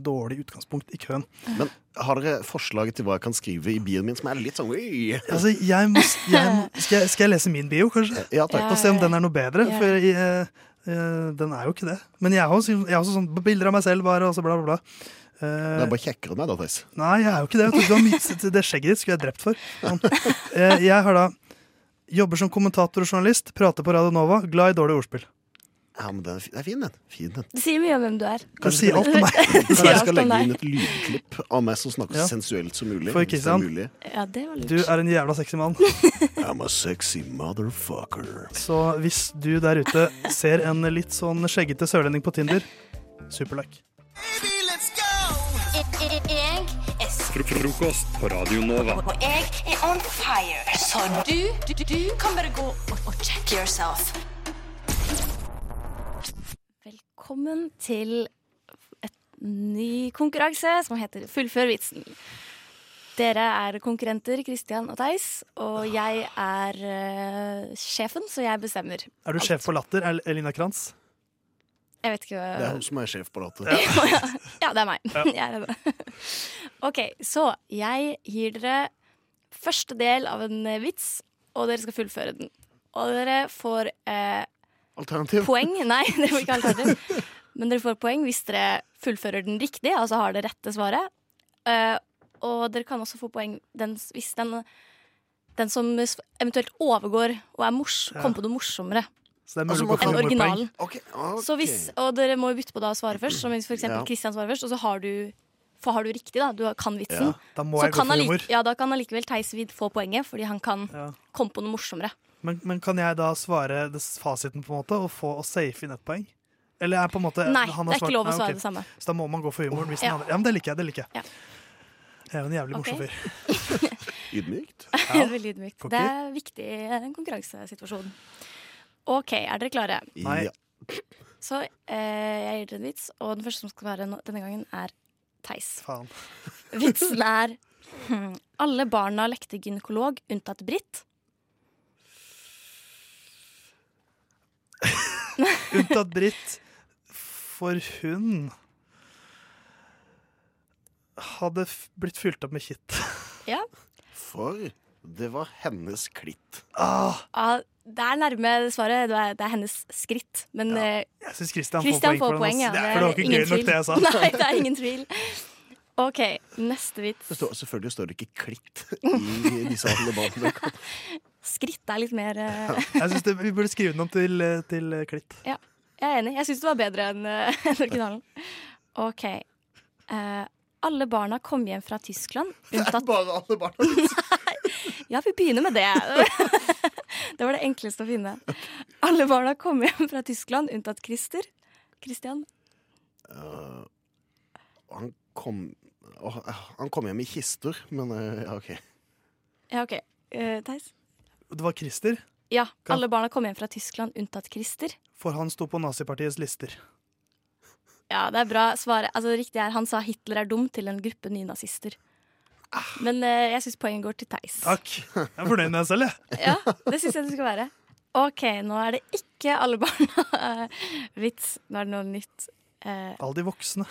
S14: dårlig utgangspunkt i køen.
S15: Men har dere forslag til hva jeg kan skrive i bioen min som er litt sånn «Ui».
S14: Altså, jeg må, jeg, må- skal, jeg, skal jeg lese min bio, kanskje?
S15: Ja, takk.
S14: Og se om den er noe bedre.
S15: Ja.
S14: For jeg, eh, den er jo ikke det. Men jeg har også, jeg har også sånn bilder av meg selv, bare, og så bla, bla, bla.
S15: Det
S14: Eh,
S15: er bare kjekkere enn meg, da, Theis.
S14: Nei, jeg er jo ikke det. vet Du, du har mye, det skjegget ditt skulle jeg drept for. Men, eh, jeg har da jobber som kommentator og journalist, prater på Radio Nova, glad i dårlig ordspill.
S15: Ja, men den er fi- den er fin, den. Fin, den.
S16: Det sier mye om hvem du er.
S15: Kanskje jeg skal legge-
S16: Det
S15: Kanskje
S16: sier
S15: jeg
S16: alt om
S15: skal legge
S16: deg.
S15: inn et lydklipp av meg som snakker
S14: Ja.
S15: så sensuelt som mulig.
S14: For
S15: hvis det er
S14: Kristian,
S15: mulig.
S16: Ja, det var lurt.
S14: Du er en jævla sexy mann.
S15: I'm a sexy motherfucker.
S14: Så hvis du der ute ser en litt sånn skjeggete sørlending på Tinder, superlike.
S19: Jeg er
S18: Fro frokost på Radio Nova.
S19: og jeg er on fire. Så du, du, du kan bare gå og, og check yourself.
S16: Velkommen til et ny konkurranse som heter Fullfør vitsen. Dere er konkurrenter, Kristian og Theis, og jeg er eh, sjefen, så jeg bestemmer.
S14: Er du sjef for Latter, El- Elina Kranz?
S16: Jeg vet ikke
S15: Det er
S16: hva
S15: hun som er sjef på rattet.
S16: Ja, det er meg.
S15: Ja.
S16: Jeg er det. OK, så jeg gir dere første del av en eh, vits, og dere skal fullføre den. Og dere får eh,
S15: Alternativ.
S16: poeng Nei, det får ikke alternativ. Men dere får poeng hvis dere fullfører den riktig, altså har det rette svaret. Eh, og dere kan også få poeng den, s- hvis den, den som s- eventuelt overgår og er mors,
S14: Ja.
S16: kommer på noe morsommere.
S14: Så det er
S16: Altså,
S14: mulig å gå
S16: enn
S14: for humorpoeng.
S16: originalen. Så hvis, og dere må jo bytte på da å svare først, som hvis for eksempel
S14: Ja.
S16: Kristian svarer først, og så har du for har du riktig, da. Du har- kan vitsen.
S14: Ja, da må
S16: så
S14: jeg gå
S16: kan
S14: for
S16: allike-
S14: humor.
S16: Ja, da kan allikevel Theisvid få poenget, fordi han kan komme på noe morsommere.
S14: Men, men kan jeg da svare det s- fasiten på en måte og få og safe inn ett poeng? Eller er på en måte
S16: Nei,
S14: han har
S16: det er ikke
S14: svart-
S16: lov å
S14: Nei,
S16: svare
S14: ok.
S16: det samme.
S14: Så da må man gå for humoren. Hvis den
S16: Ja.
S14: andre- ja, men det liker jeg. det liker Jeg
S16: Ja.
S14: Jeg er jo en jævlig morsom
S16: Ok.
S14: fyr.
S15: Ydmykt.
S14: Ja.
S16: Veldig ydmykt.
S14: Cocky.
S16: Det er viktig i en konkurransesituasjon. OK, er dere klare?
S15: Nei. Ja.
S16: Så eh, jeg gir dere en vits, og den første som skal være nå- denne gangen, er Theis.
S14: Faen.
S16: Vitsen er hmm, Alle barna lekte gynekolog unntatt Britt.
S14: Unntatt Britt, for hun hadde f- blitt fylt opp med kitt.
S16: Ja.
S15: For det var hennes klitt.
S14: Ah,
S16: Ah, det er nærme svaret. Det er, det er hennes skritt. Men eh,
S14: jeg syns Christian,
S16: Christian
S14: får poeng for den.
S16: ja.
S14: ass. for det var ikke
S16: ingen
S14: gøy nok, det jeg sa.
S16: tvil. Nei, det er ingen tvil. OK, neste vits.
S15: Det står, selvfølgelig står det ikke klitt i disse alle barna.
S16: Skritt er litt mer eh,
S14: Jeg synes det, Vi burde skrive den om til, eh, til eh, klitt.
S16: Ja, jeg er enig. Jeg syns det var bedre enn eh, enn originalen. OK. Eh, alle barna kom hjem fra Tyskland, unntatt
S15: Bare alle barna.
S16: Ja, vi begynner med det. det var det enkleste å finne. Alle barna kom hjem fra Tyskland, unntatt Christer. Christian.
S15: Og Eh, han kom, åh, han kom hjem i kister, men eh, ja, OK.
S16: Ja, OK. Eh, Theis?
S14: Det var Christer,
S16: Ja,
S14: Kan-
S16: alle barna kom hjem fra Tyskland unntatt Christer.
S14: for han sto på nazipartiets lister.
S16: Ja, det er bra svaret. Altså, det riktige er han sa Hitler er dum til en gruppe nynazister.
S15: Ah.
S16: Men eh, jeg syns poenget går til Theis.
S14: Takk. Jeg er fornøyd med meg selv, jeg.
S16: Ja, det syns jeg det skal være. OK, nå er det ikke alle barna-vits. Nå er det noe nytt. Eh,
S14: Alle de voksne.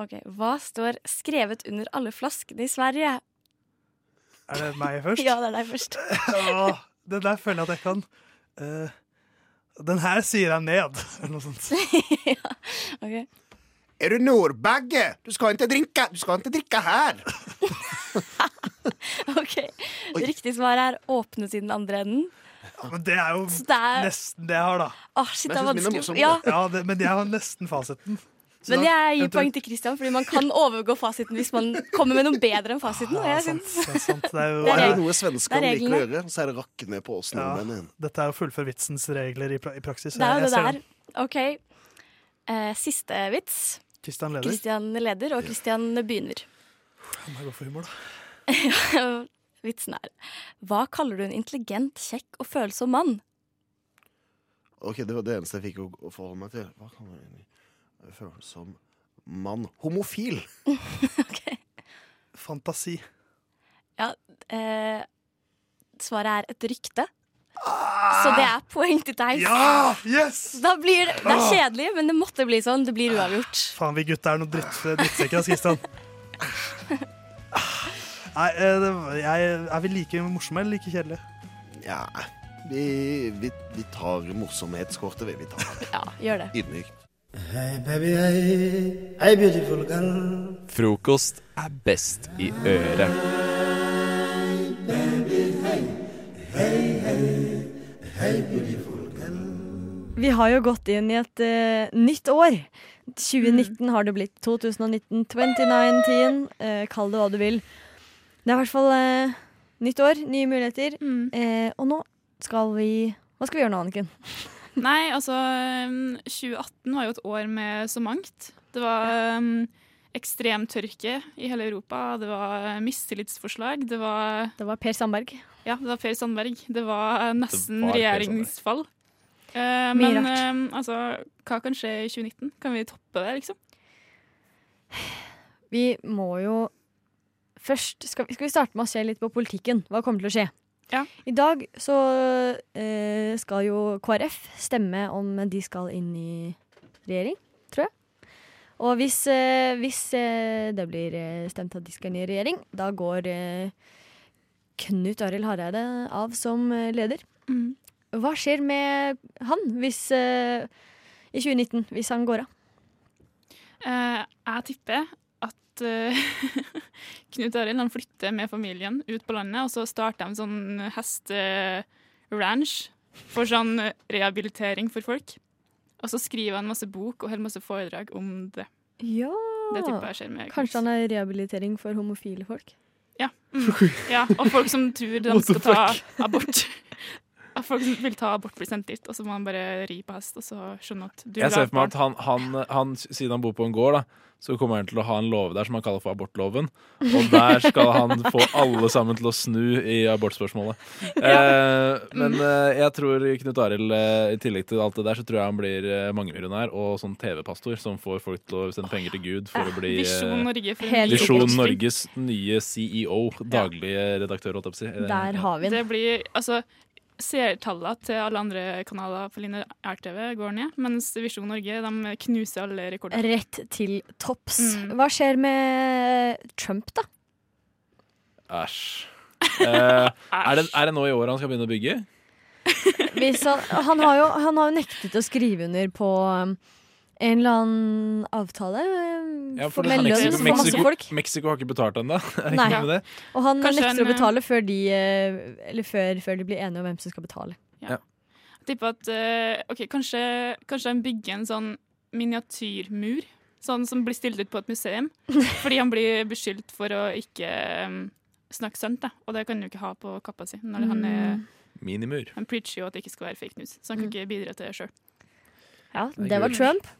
S16: OK. Hva står skrevet under alle flaskene i Sverige?
S14: Er det meg først?
S16: Ja, det er deg først.
S14: Åh, den der føler jeg at jeg kan. Eh, den her sier jeg ned, eller noe sånt.
S9: Er du nordbagge? Du skal ikke drikke, du skal ikke drikke her.
S16: OK. Riktig svar er åpne siden andre enden.
S14: Ja, men det er jo
S16: Så det er-
S14: nesten det jeg har, da.
S16: Åh, shit, det er vanskelig. Ja,
S14: Ja, det, men jeg har nesten fasiten. Så
S16: men
S14: da-
S16: jeg gir poeng
S14: eventuelt-
S16: til Christian, fordi man kan overgå fasiten hvis man kommer med noe bedre enn fasiten. Og jeg synes
S14: Det er sant. Det er jo
S16: Det er
S15: Er det
S16: reg-
S15: noe
S16: det
S15: svenskene
S16: er
S15: liker å
S16: reglene.
S15: gjøre, så er det rakke ned på oss nordmenn igjen.
S14: Dette er jo fullfør vitsens regler i, pra i praksis.
S16: Det er jo
S14: Jeg
S16: det
S14: ser
S16: der.
S14: den.
S16: OK. Eh, siste vits.
S14: Kristian leder.
S16: Kristian leder, og Kristian begynner.
S14: Jeg må gå for humor, da.
S16: Vitsen er Hva kaller du en intelligent, kjekk og følsom mann?
S15: Ok, Det var det eneste jeg fikk å, å forholde meg til. Hva kan man egentlig føle som mann? Homofil!
S14: Fantasi.
S16: Ja, eh, svaret er et rykte. Så det er poeng til deg.
S14: Ja! Yes! Ah.
S16: Da blir det, det er kjedelig, men det måtte bli sånn. Det blir uavgjort.
S14: Faen, vi gutta er noen dritt, drittsekker, ass, Kristian. Nei, eh, det, jeg, er vi like morsomme eller like kjedelige?
S15: Ja, vi, vi, vi tar morsomhetskortet, vi. vi tar.
S16: Ja, gjør det.
S15: Ydmykt.
S20: Hei, baby, hei. Hei, beautiful girl.
S21: Frokost er best i øret.
S2: Vi har jo gått inn i et eh, nytt år. 2019 har det blitt. 2019, 2019. eh, kall det hva du vil. Det er i hvert fall eh, nytt år, nye muligheter. Eh, og nå skal vi Hva skal vi gjøre nå, Anniken?
S22: Nei, altså um, 2018 var jo et år med så mangt. Det var um, ekstrem tørke i hele Europa, det var eh, mistillitsforslag, det var
S2: Det var Per Sandberg.
S22: Ja, det var Per Sandberg. Det var nesten
S2: Det var Per
S22: regjeringsfall. Eh,
S2: Mye
S22: men
S2: rart.
S22: um, altså, hva kan skje i 2019? Kan vi toppe det, liksom?
S2: Vi må jo først Skal vi, skal vi starte med å se litt på politikken? Hva kommer til å skje? I dag så eh, skal jo KrF stemme om de skal inn i regjering, tror jeg. Og hvis, eh, hvis eh, det blir eh, stemt at de skal inn i regjering, da går eh, Knut Arild Hareide av som eh, leder. Hva skjer med han hvis, eh, i 2019 hvis han går av?
S22: Eh, jeg tipper at eh, Knut Arild han flytter med familien ut på landet, og så starter de en sånn hesteranch for sånn rehabilitering for folk. Og så skriver han masse bok og holder masse foredrag om det.
S2: Ja
S22: Det tipper jeg skjer med
S2: Ah, Kanskje han er rehabilitering for homofile folk?
S22: Ja. Mm. ja og folk som tror de
S2: What the
S22: skal ta
S2: fuck?
S22: abort. At folk som vil ta abort, blir sendt dit, og så må han bare ri på hest og så skjønne at du vil
S23: Jeg
S22: ha
S23: ser
S22: et
S23: for meg
S22: barn.
S23: at han, han, han, siden han bor på en gård, da, så kommer han til å ha en lov der som han kaller for abortloven. Og der skal han få alle sammen til å snu i abortspørsmålet. Eh, men eh, jeg tror Knut Arild, eh, i tillegg til alt det der, så tror jeg han blir eh, mangemillionær og sånn TV-pastor som får folk til å sende penger til Gud for å bli eh,
S22: Visjon Norge for en ny
S23: Visjon
S22: oppvekst.
S23: Norges nye CEO, daglige redaktør, holdt jeg på å si. Eh,
S22: Det blir, altså, Seertallene til alle andre kanaler på linje RTV går ned, mens Visjon Norge de knuser alle rekorder.
S2: Rett til topps.
S22: Mm.
S2: Hva skjer med eh, Trump, da?
S23: Æsj. Eh, er, det, er det nå i år han skal begynne å bygge?
S2: Hvis han, han, har jo, han har jo nektet å skrive under på um, en eller annen avtale um,
S23: Ja,
S2: for
S23: det-
S2: med lønn for masse
S23: Mexico,
S2: folk.
S23: Mexico har ikke betalt ennå.
S2: Nei.
S23: Ja.
S2: Og han
S22: Kanskje
S2: nekter
S22: en,
S2: å betale før de, eh, eller før, før de blir enige om hvem som skal betale.
S22: Jeg tipper at eh, ok, kanskje, kanskje de bygger en sånn miniatyrmur, sånn som blir stilt ut på et museum, fordi han blir beskyldt for å ikke um, snakke sant, da. og det kan han jo ikke ha på kappa si. Når han, er,
S2: Mm.
S23: Minimur.
S22: han preacher jo at det ikke skal være fake news, så han kan ikke bidra til det sjøl.
S2: Ja,
S22: er
S2: det var
S22: kult.
S2: Trump.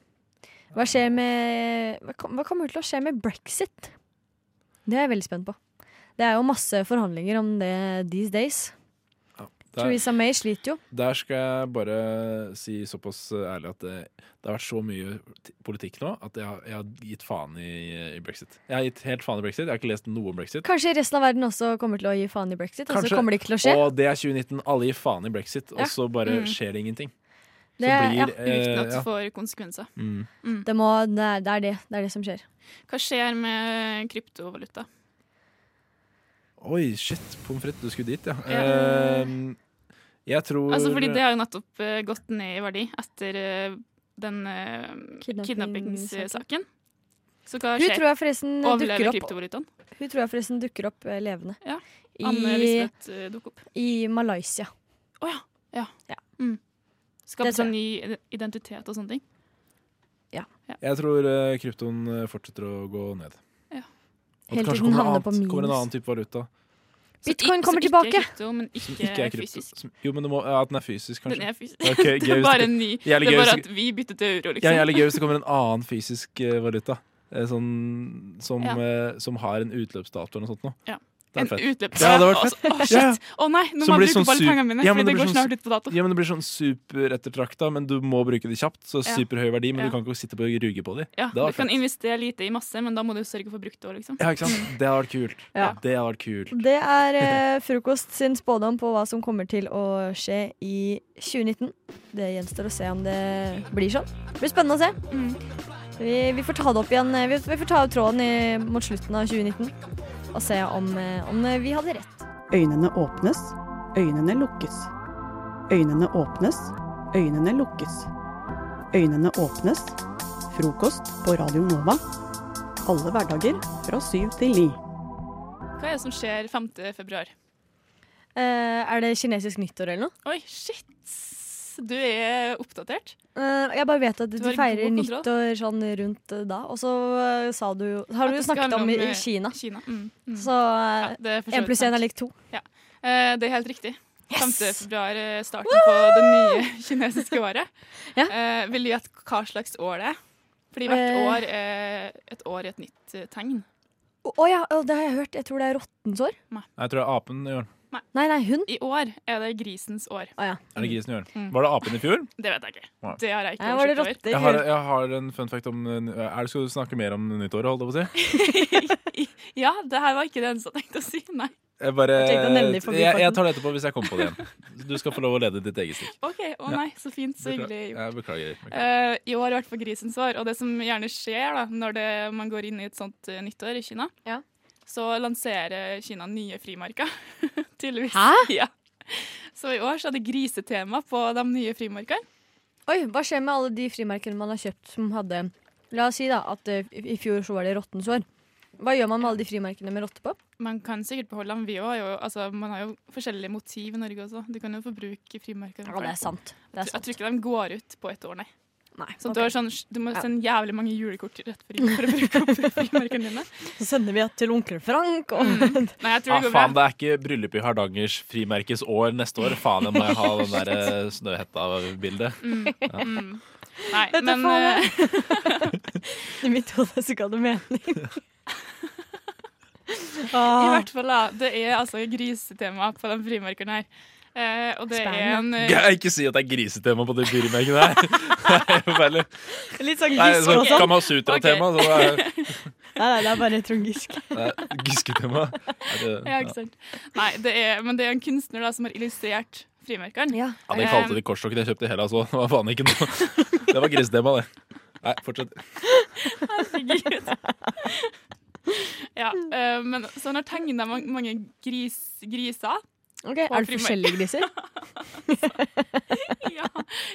S2: Hva skjer med hva, kom, hva kommer til å skje med brexit? Det er jeg veldig spent på. Det er jo masse forhandlinger om det these days. Theresa May sliter jo.
S23: Der skal jeg bare si såpass ærlig at det, det har vært så mye t- politikk nå at jeg har, jeg har gitt faen i, i brexit. Jeg har gitt helt faen i brexit. Jeg har ikke lest noe om brexit.
S2: Kanskje resten av verden også kommer til å gi faen i brexit. Og så
S23: Kanskje-
S2: kommer det ikke til å skje.
S23: Og det er 2019. Alle gir faen i brexit,
S2: Ja.
S23: og så bare
S2: Mm.
S23: skjer det ingenting. Så
S2: Det- ja.
S23: eh,
S2: Uten at
S23: ja.
S2: folk-
S22: For konsekvenser.
S23: Mm.
S2: Det, må, det, er, det er det. Det er det som skjer.
S22: Hva skjer med kryptovaluta?
S23: Oi, shit, pommes frites, du skulle dit, ja.
S22: Ja.
S23: Ehm, jeg tror
S22: Altså, fordi det har jo nettopp eh, gått ned i verdi etter eh, den eh, kidnappingssaken. Så hva
S2: Hun
S22: skjer?
S2: tror jeg forresten dukker
S22: Overlever
S2: opp.
S22: kryptovalutaen?
S2: Hun tror jeg forresten dukker opp eh, levende.
S22: Anne
S2: I,
S22: Elisabeth eh, dukker opp.
S2: I Malaysia.
S22: Å ja. ja.
S2: Det
S22: Mm. Skape
S2: tror
S22: seg ny identitet og sånne ting.
S23: Jeg tror eh, kryptoen eh, fortsetter å gå ned.
S22: Ja.
S23: Og
S2: Helt
S23: det
S2: til
S23: kanskje
S2: den
S23: kommer, noe
S2: havner
S23: annet,
S2: på
S23: kommer en
S2: minus.
S23: annen type valuta.
S2: Bitcoin
S22: Så i-
S2: kommer
S22: så
S2: tilbake.
S22: Ikke krypto, men ikke,
S23: Som ikke er krypto.
S22: fysisk.
S23: Som, jo, men det må, ja, at den er fysisk, kanskje.
S22: Den er fysisk.
S23: Ok, gøy
S22: det er
S23: hvis
S22: bare en ny. Det
S23: Jævlig
S22: er
S23: gøy
S22: bare
S23: hvis-
S22: at vi bytter til euro, liksom.
S23: Ja, jævlig gøy hvis det kommer en annen fysisk eh, valuta. eh, Sånn, som,
S22: Ja.
S23: eh, som har en utløpsdato eller noe sånt. Nå.
S22: Ja.
S23: Det er
S22: En
S23: fett.
S22: utløpsdato.
S23: Ja, det hadde vært
S22: Å,
S23: fett.
S22: shit.
S23: Ja, ja.
S22: Å nei, nå
S23: Som
S22: må jeg
S23: blir
S22: bruke
S23: sånn
S22: alle
S23: sup-
S22: pengene mine,
S23: Ja, men
S22: fordi det
S13: blir
S22: går
S13: sånn
S22: snart ut på dato.
S23: Ja, men Det blir sånn superettertrakta, men du må bruke det kjapt. Så
S22: Ja.
S23: superhøy verdi, men
S22: Ja.
S23: du kan ikke sitte på og ruge på dem.
S22: Ja,
S23: det
S22: du
S23: hadde
S22: kan
S23: vært fett.
S22: investere lite i masse, men da må du sørge for brukt det òg, liksom.
S23: Ja, ikke sant? Det hadde vært kult.
S2: Ja.
S23: Det hadde vært kult.
S2: Det er eh, frokost sin spådom på hva som kommer til å skje i 2019. Det gjenstår å se om det blir sånn. Det blir spennende å se.
S22: Mm.
S2: Vi, vi får ta det opp igjen. eh, Vi, vi får ta opp tråden i, mot slutten av 2019 og se om, eh, om vi hadde rett.
S1: Øynene åpnes, øynene lukkes. Øynene åpnes, øynene lukkes. Øynene åpnes. Frokost på Radio Nova. Alle hverdager fra syv til ni.
S22: Hva er det som skjer 5. februar?
S2: Eh, er det kinesisk nyttår eller noe?
S22: Oi, shit! Du er oppdatert.
S2: Eh, jeg bare vet at
S22: Du har
S2: de
S22: god
S2: feirer
S22: kontroll.
S2: nyttår sånn rundt eh, da. Og så eh, sa du jo-
S22: At
S2: Har du
S22: det
S2: jo
S22: skal
S2: snakket
S22: handle
S2: om i,
S22: om, eh,
S2: i Kina.
S22: Mm, mm.
S2: Så eh,
S22: det er for så
S2: en
S22: vidt
S2: pluss én
S22: sant.
S2: er lik to.
S22: Ja. Eh, det er helt riktig. 5. februar er starten på det nye kinesiske året. Eh, vil du gjette hva slags år det er? Fordi hvert
S2: Eh.
S22: år er et år i et nytt eh, tegn.
S2: Å å ja, å, det har jeg hørt. Jeg tror det er rottens år.
S23: Nei, Jeg tror det er apen i år.
S22: Nei.
S2: nei, hun.
S22: I år er det grisens år.
S23: Er det grisen i år?
S22: Mm.
S23: Var det apen i fjor?
S22: Det vet jeg ikke.
S23: Nei.
S22: Det har jeg ikke
S2: Nei, var det
S22: oversikt over.
S2: rotter?
S23: Jeg har, jeg har en fun fact om eh, Er det Skal du snakke mer om nyttåret, holdt jeg på å si?
S22: Ja, det her var ikke det eneste jeg tenkte å si. Nei.
S23: Jeg, bare,
S22: Jeg tenkte å nelle
S23: jeg,
S22: forbi
S23: jeg
S22: farten.
S23: tar det etterpå hvis jeg kommer på det igjen. Du skal få lov å lede ditt eget stikk.
S22: OK. Å
S23: Ja.
S22: nei, så fint. Så
S23: Bekla-
S22: hyggelig gjort.
S23: Jeg beklager. beklager.
S22: Eh, I år har det vært for grisens år, og det som gjerne skjer da, når det, man går inn i et sånt eh, nyttår i Kina, så lanserer Kina nye frimarker, tydeligvis. Hæ? Ja. Så i år så er det grisetema på de nye frimarkene.
S2: Oi, hva skjer med alle de frimerkene man har kjøpt som hadde La oss si da at eh, i i fjor så var det rottens år. Hva gjør man med alle de frimerkene med rotte på?
S22: Man kan sikkert beholde dem, vi òg. har jo- Altså, man har jo forskjellige motiv i Norge også. Du kan jo forbruke frimerker.
S2: Ja, det er sant. Det er
S22: Jeg tror- Jeg tror ikke de går ut på ett år, nei. så du,
S2: ok.
S22: har sånn, du må
S2: Ja.
S22: sende jævlig mange julekort rett før jul for å bruke opp frimerkene dine.
S2: Så sender vi et til onkel Frank og
S22: Nei, jeg tror
S23: Ah,
S22: det går bra.
S23: faen, det er ikke bryllup i Hardangers frimerkes år neste år. Faen, jeg må jo ha den der eh, snøhetta-bildet.
S22: Mm.
S23: Ja.
S22: Mm. Nei,
S2: Dette
S22: men
S2: faen
S22: eh,
S2: I mitt hode så ga det mening.
S22: i
S2: Ah.
S22: hvert fall, da. Det er altså grisetema på den frimerkeren her. Eh, og det er en eh,
S23: Gøy, Ikke si at det er grisetema på de frimerkene her! Det er forferdelig.
S2: Litt sånn
S23: Nei,
S2: Giske
S23: sånn
S2: og sånn.
S23: Kamasutra-tema. så det er-
S2: Nei, nei, det er bare sånn Trond Giske.
S23: det er Giske-tema. Er det-
S22: Ja, ikke sant. Nei, det er, men det er en kunstner da som har illustrert frimerkeren.
S2: Ja,
S23: Ja, de kalte
S22: Eh,
S23: det korstokk. Det kjøpte i Hellas òg. Det var faen ikke noe Det var grisetema, det. Nei, fortsett.
S22: Herregud. Ja, eh, men så han har tegna mange gris, griser.
S2: Ok, Er det forskjellige griser?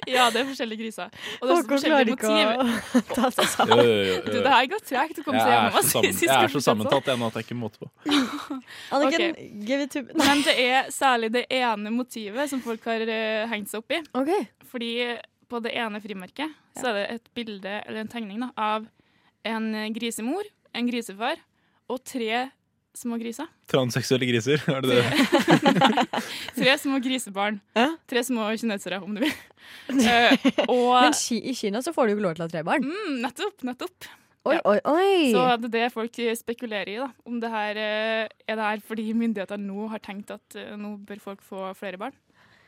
S22: Ja, det er forskjellige griser. Og det er også
S2: Håkon klarer
S22: forskjellige
S2: ikke å
S22: motiv.
S2: ta seg
S23: Jo,
S2: sammen.
S23: jo, jo, jo.
S22: Du, det her går tregt å komme seg
S23: Øh, Jeg er
S22: gjennom
S23: så sammen-
S22: siste
S23: Jeg er så
S22: konferanse.
S23: sammentatt jeg nå at jeg ikke måte på.
S2: Anniken,
S22: Ok.
S2: give it to
S22: Men det er særlig det ene motivet som folk har eh, hengt seg opp i. Fordi på det ene frimerket så er det et bilde, eller en tegning, da, av en eh, grisemor, en grisefar og tre små griser.
S23: Transseksuelle griser, er det det?
S22: Tre små grisebarn. Tre små kinesere, om du vil. Eh, og
S2: Men Ki- i Kina så får du jo ikke lov til å ha tre barn.
S22: Mm, nettopp, nettopp.
S2: Oi, oi, oi.
S22: Så det er det folk eh, spekulerer i, da. Om det her, eh, er det her fordi myndighetene nå har tenkt at eh, nå bør folk få flere barn?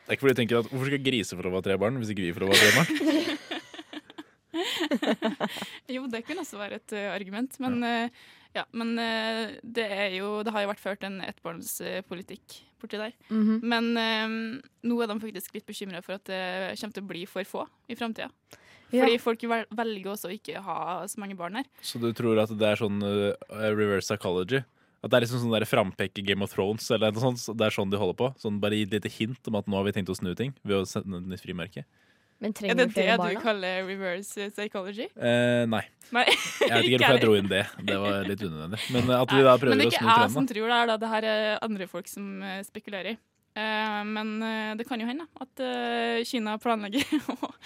S23: Det er ikke fordi du tenker at Hvorfor skal griser få lov å ha tre barn hvis ikke vi får lov å ha tre barn?
S22: Jo, det kunne også være et eh, argument, men, eh, ja, men eh, det, er jo, det har jo vært ført en ettbarnspolitikk borti der.
S2: Mhm.
S22: Men eh, nå er de faktisk litt bekymra for at det kommer til å bli for få i framtida.
S23: Ja.
S22: Fordi folk vel, velger også å ikke ha så mange barn her.
S23: Så du tror at det er sånn eh, reverse psychology? At det er liksom sånn der frampeke Game of Thrones? Eller noe sånt, så det er sånn de holder på? Sånn Bare gi et lite hint om at nå har vi tenkt å snu ting ved å sende et nytt frimerke?
S2: Men
S22: Er
S2: trenger vi
S22: det det
S2: flere
S22: du
S2: barn? da?
S22: kaller reverse psychology?
S23: Eh, nei.
S22: Nei,
S23: Jeg vet
S22: ikke
S23: ikke hvorfor
S22: heller.
S23: jeg dro inn det. Det var litt unødvendig. Men at vi da
S22: Men
S23: prøver
S22: det er
S23: å
S22: sånn-
S23: snu
S22: ikke jeg som
S23: trenden. da.
S22: tror det er da. Det her er andre folk som eh, spekulerer. Eh, men eh, det kan jo hende at eh, Kina planlegger å-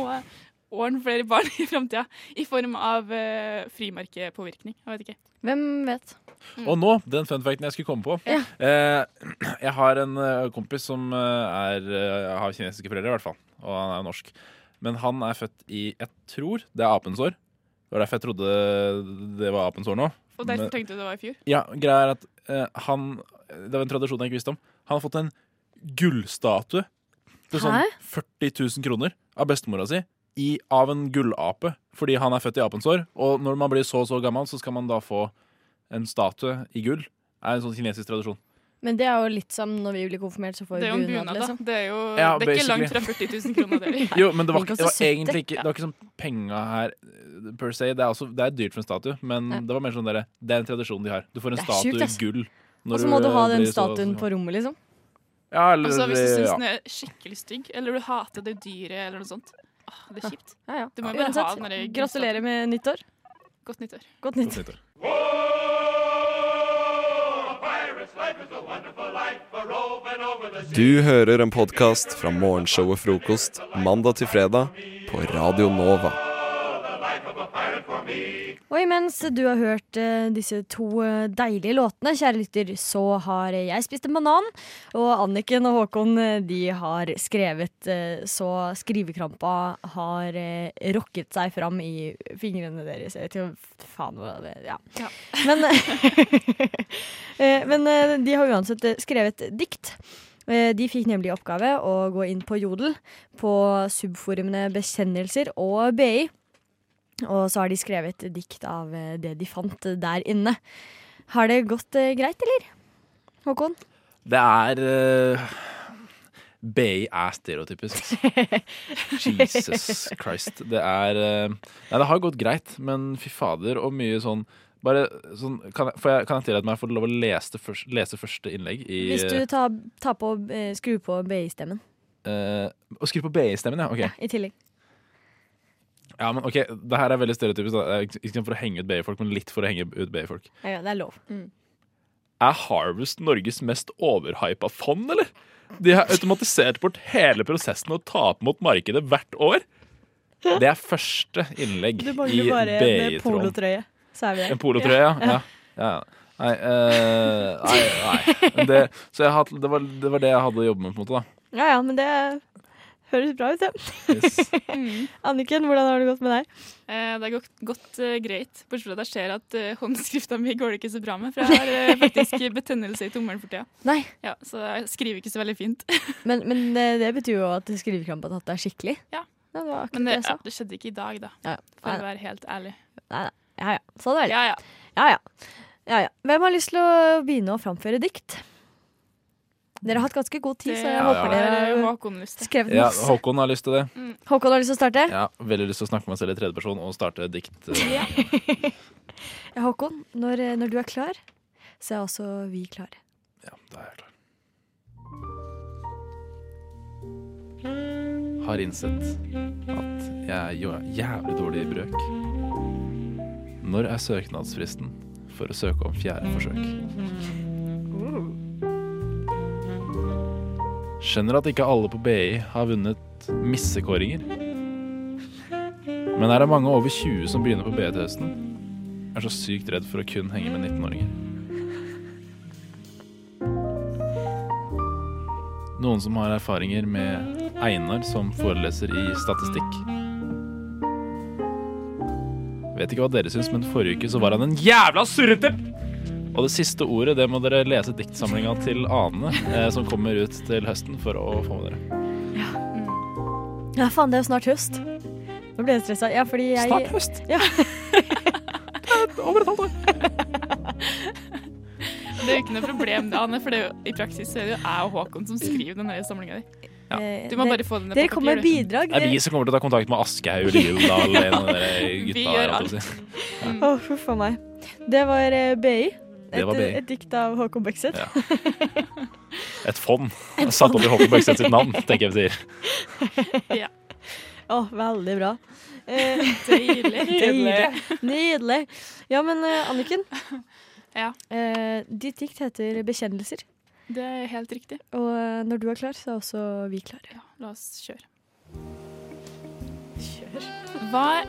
S22: å ordne flere barn i framtida i form av eh, frimarkepåvirkning. Jeg vet ikke. Mm.
S2: Hvem vet?
S23: Og nå, den fun facten jeg skulle komme på. Eh, jeg har en eh, kompis som eh, er, eh, har kinesiske foreldre, i hvert fall. Og han er jo norsk. Men han er født i Jeg tror det er apens år. Det var derfor jeg trodde det var apens år nå.
S22: Og derfor
S23: Men-
S22: tenkte du det var i fjor?
S23: Ja, greia er at eh, han Det var en tradisjon jeg ikke visste om. Han har fått en gullstatue til sånn
S2: Hæ?
S23: 40 000 kroner av bestemora si i, av en gullape. Fordi han er født i apens år, og når man blir så så gammel, så skal man da få en statue i gull. Det er en sånn kinesisk tradisjon.
S2: Men det er jo litt som når vi blir konfirmert, så får vi
S22: Det er jo en
S2: bunad,
S22: bunad, da.
S2: liksom.
S22: Det er jo
S23: Ja,
S22: det er ikke langt fra
S23: basically.
S22: 40 000 kroner. Det. er-
S23: Jo, men det var,
S2: Den koster
S23: ikke- det var
S2: 70.
S23: egentlig ikke Det var ikke sånn penga her eh, per se. Det er, også, det er dyrt for en statue, men det var mer sånn der, det er en tradisjon de har. Du får en
S2: Det er sjukt,
S23: statue i
S2: ass.
S23: gull. når eh,
S2: Og så må du ha den
S23: blir så-
S2: statuen på rommet, liksom.
S23: Ja, eller
S22: Altså, hvis du syns
S23: ja.
S22: den er skikkelig stygg, eller du hater det dyret, eller noe sånt. Åh, det er kjipt.
S2: Ja, ja.
S22: Du må jo bare ha
S2: Uansett,
S22: den der
S2: gratulerer med nyttår.
S22: Godt nyttår.
S2: Godt nyttår.
S21: Du hører en podkast fra morgenshow og frokost mandag til fredag på Radio Nova.
S2: Og imens du har hørt eh, disse to eh, deilige låtene, kjære lytter, så har jeg spist en banan. Og Anniken og Håkon eh, de har skrevet eh, så skrivekrampa har eh, rokket seg fram i fingrene deres. Jeg vet ikke faen hva det ja. Men, eh, men eh, de har uansett eh, skrevet dikt. Eh, De fikk nemlig i oppgave å gå inn på Jodel, på subforumene Bekjennelser og BI. Og så har de skrevet dikt av eh, det de fant der inne. Har det gått eh, greit, eller? Håkon?
S23: Det er eh, BI er stereotypisk. Jesus Christ. Det er eh, Nei, det har gått greit, men fy fader, og mye sånn bare sånn, kan jeg, får jeg, kan jeg tillate meg å få lov å lese, det først, lese første innlegg i
S2: Hvis du tar, tar på, eh, skrur på BI-stemmen
S23: eh, Å skru på BI-stemmen, ja. Ok.
S2: i tillegg.
S23: Ja, men ok, Det her er veldig stereotypisk. Da. Det er Ikke ikke for å henge ut BI-folk, men litt for å henge ut BI-folk.
S2: Ja, ja, det er lov.
S23: Er Harvest Norges mest overhypa fond, eller? De har automatisert bort hele prosessen og taper mot markedet hvert år. Det er første innlegg
S2: Du
S23: i
S2: mangler bare en eh,
S23: BI-tråden.
S2: polotrøye, så er vi der.
S23: En polotrøye, ja. ja. ja. Nei, eh, nei, nei. Men Det, så jeg hadde, det, var, det var det jeg hadde å jobbe med, på en måte. da.
S2: Ja ja, men det høres bra ut, det. Anniken, hvordan har det gått med deg?
S22: Eh, Det har gått, gått eh, greit, bortsett fra at jeg ser at eh, håndskrifta mi går det ikke så bra med. For jeg har eh, faktisk betennelse i tommelen for tida.
S2: Nei.
S22: Ja, så jeg skriver ikke så veldig fint.
S2: Men, men eh, det betyr jo at skrivekrampa har tatt deg skikkelig.
S22: Ja.
S2: Det var akkurat
S22: Men
S2: det
S22: det,
S2: jeg
S22: ja,
S2: sa.
S22: det skjedde ikke i dag, da.
S2: Ja, ja.
S22: For
S2: Nei,
S22: å være helt ærlig.
S2: Nei, nei. Ja, ja. Sånn er det.
S22: Ja, ja.
S2: Ja, ja. ja, ja. Hvem har lyst til å begynne å framføre dikt? Dere har hatt ganske god tid,
S22: Det
S2: så jeg
S23: har
S2: håper dere
S22: Eh,
S2: har
S22: Håkon Mm. lyst til.
S2: skrevet
S23: Ja,
S2: masse.
S23: Håkon har lyst til det.
S2: Håkon har lyst til å starte?
S23: Ja, Veldig lyst til å snakke med meg selv i tredjeperson og starte dikt. eh,
S2: Ja. Ja, Håkon, når, eh, når du er klar, så er også vi klare.
S23: har innsett at jeg jo er jævlig dårlig i brøk. Når er søknadsfristen for å søke om fjerde forsøk? Skjønner at ikke alle på BI har vunnet missekåringer. Men er det mange over 20 som begynner på BI til høsten? Er så sykt redd for å kun henge med 19-åringer. Noen som har erfaringer med Einar som foreleser i statistikk. Vet ikke hva dere syns, men forrige uke så var han en jævla surrete! Og det siste ordet, det må dere lese diktsamlinga til Ane, eh, som kommer ut til høsten, for å få med dere.
S2: Mm. Ja, faen, det er jo snart høst. Nå ble jeg stressa. Ja, fordi jeg
S23: Snart høst?
S2: Ja.
S23: Over et halvt år.
S22: Det er jo ikke noe problem, det, Anne, for det er jo, i praksis så er det jo jeg og Håkon som skriver den samlinga di. Du må
S2: Eh,
S22: bare få den ned
S2: dere
S22: på
S2: kommer med
S22: papir, du.
S2: bidrag.
S23: Det er vi som kommer til å ta kontakt med Aschehoug eller Gyldal eller en av dere
S22: Vi
S23: gutta.
S22: gjør
S23: her, holdt jeg på å si.
S2: Å, huff a meg. Det var eh, BI.
S23: Mm. Det var
S2: Et- eh,
S23: BI.
S2: Et dikt av Håkon Bekseth.
S23: Et fond. Satt opp i Håkon Bøkseth sitt navn, tenker jeg vi sier.
S2: ja. Å, veldig bra. Eh,
S22: Deilig.
S2: Deilig. Nydelig. Ja, men eh, Anniken.
S22: Ja.
S2: Eh, ditt dikt heter 'Bekjennelser'.
S22: Det er helt riktig.
S2: Og eh, når du er klar, så er også vi klare.
S22: Ja, la oss kjøre. Kjør. Hva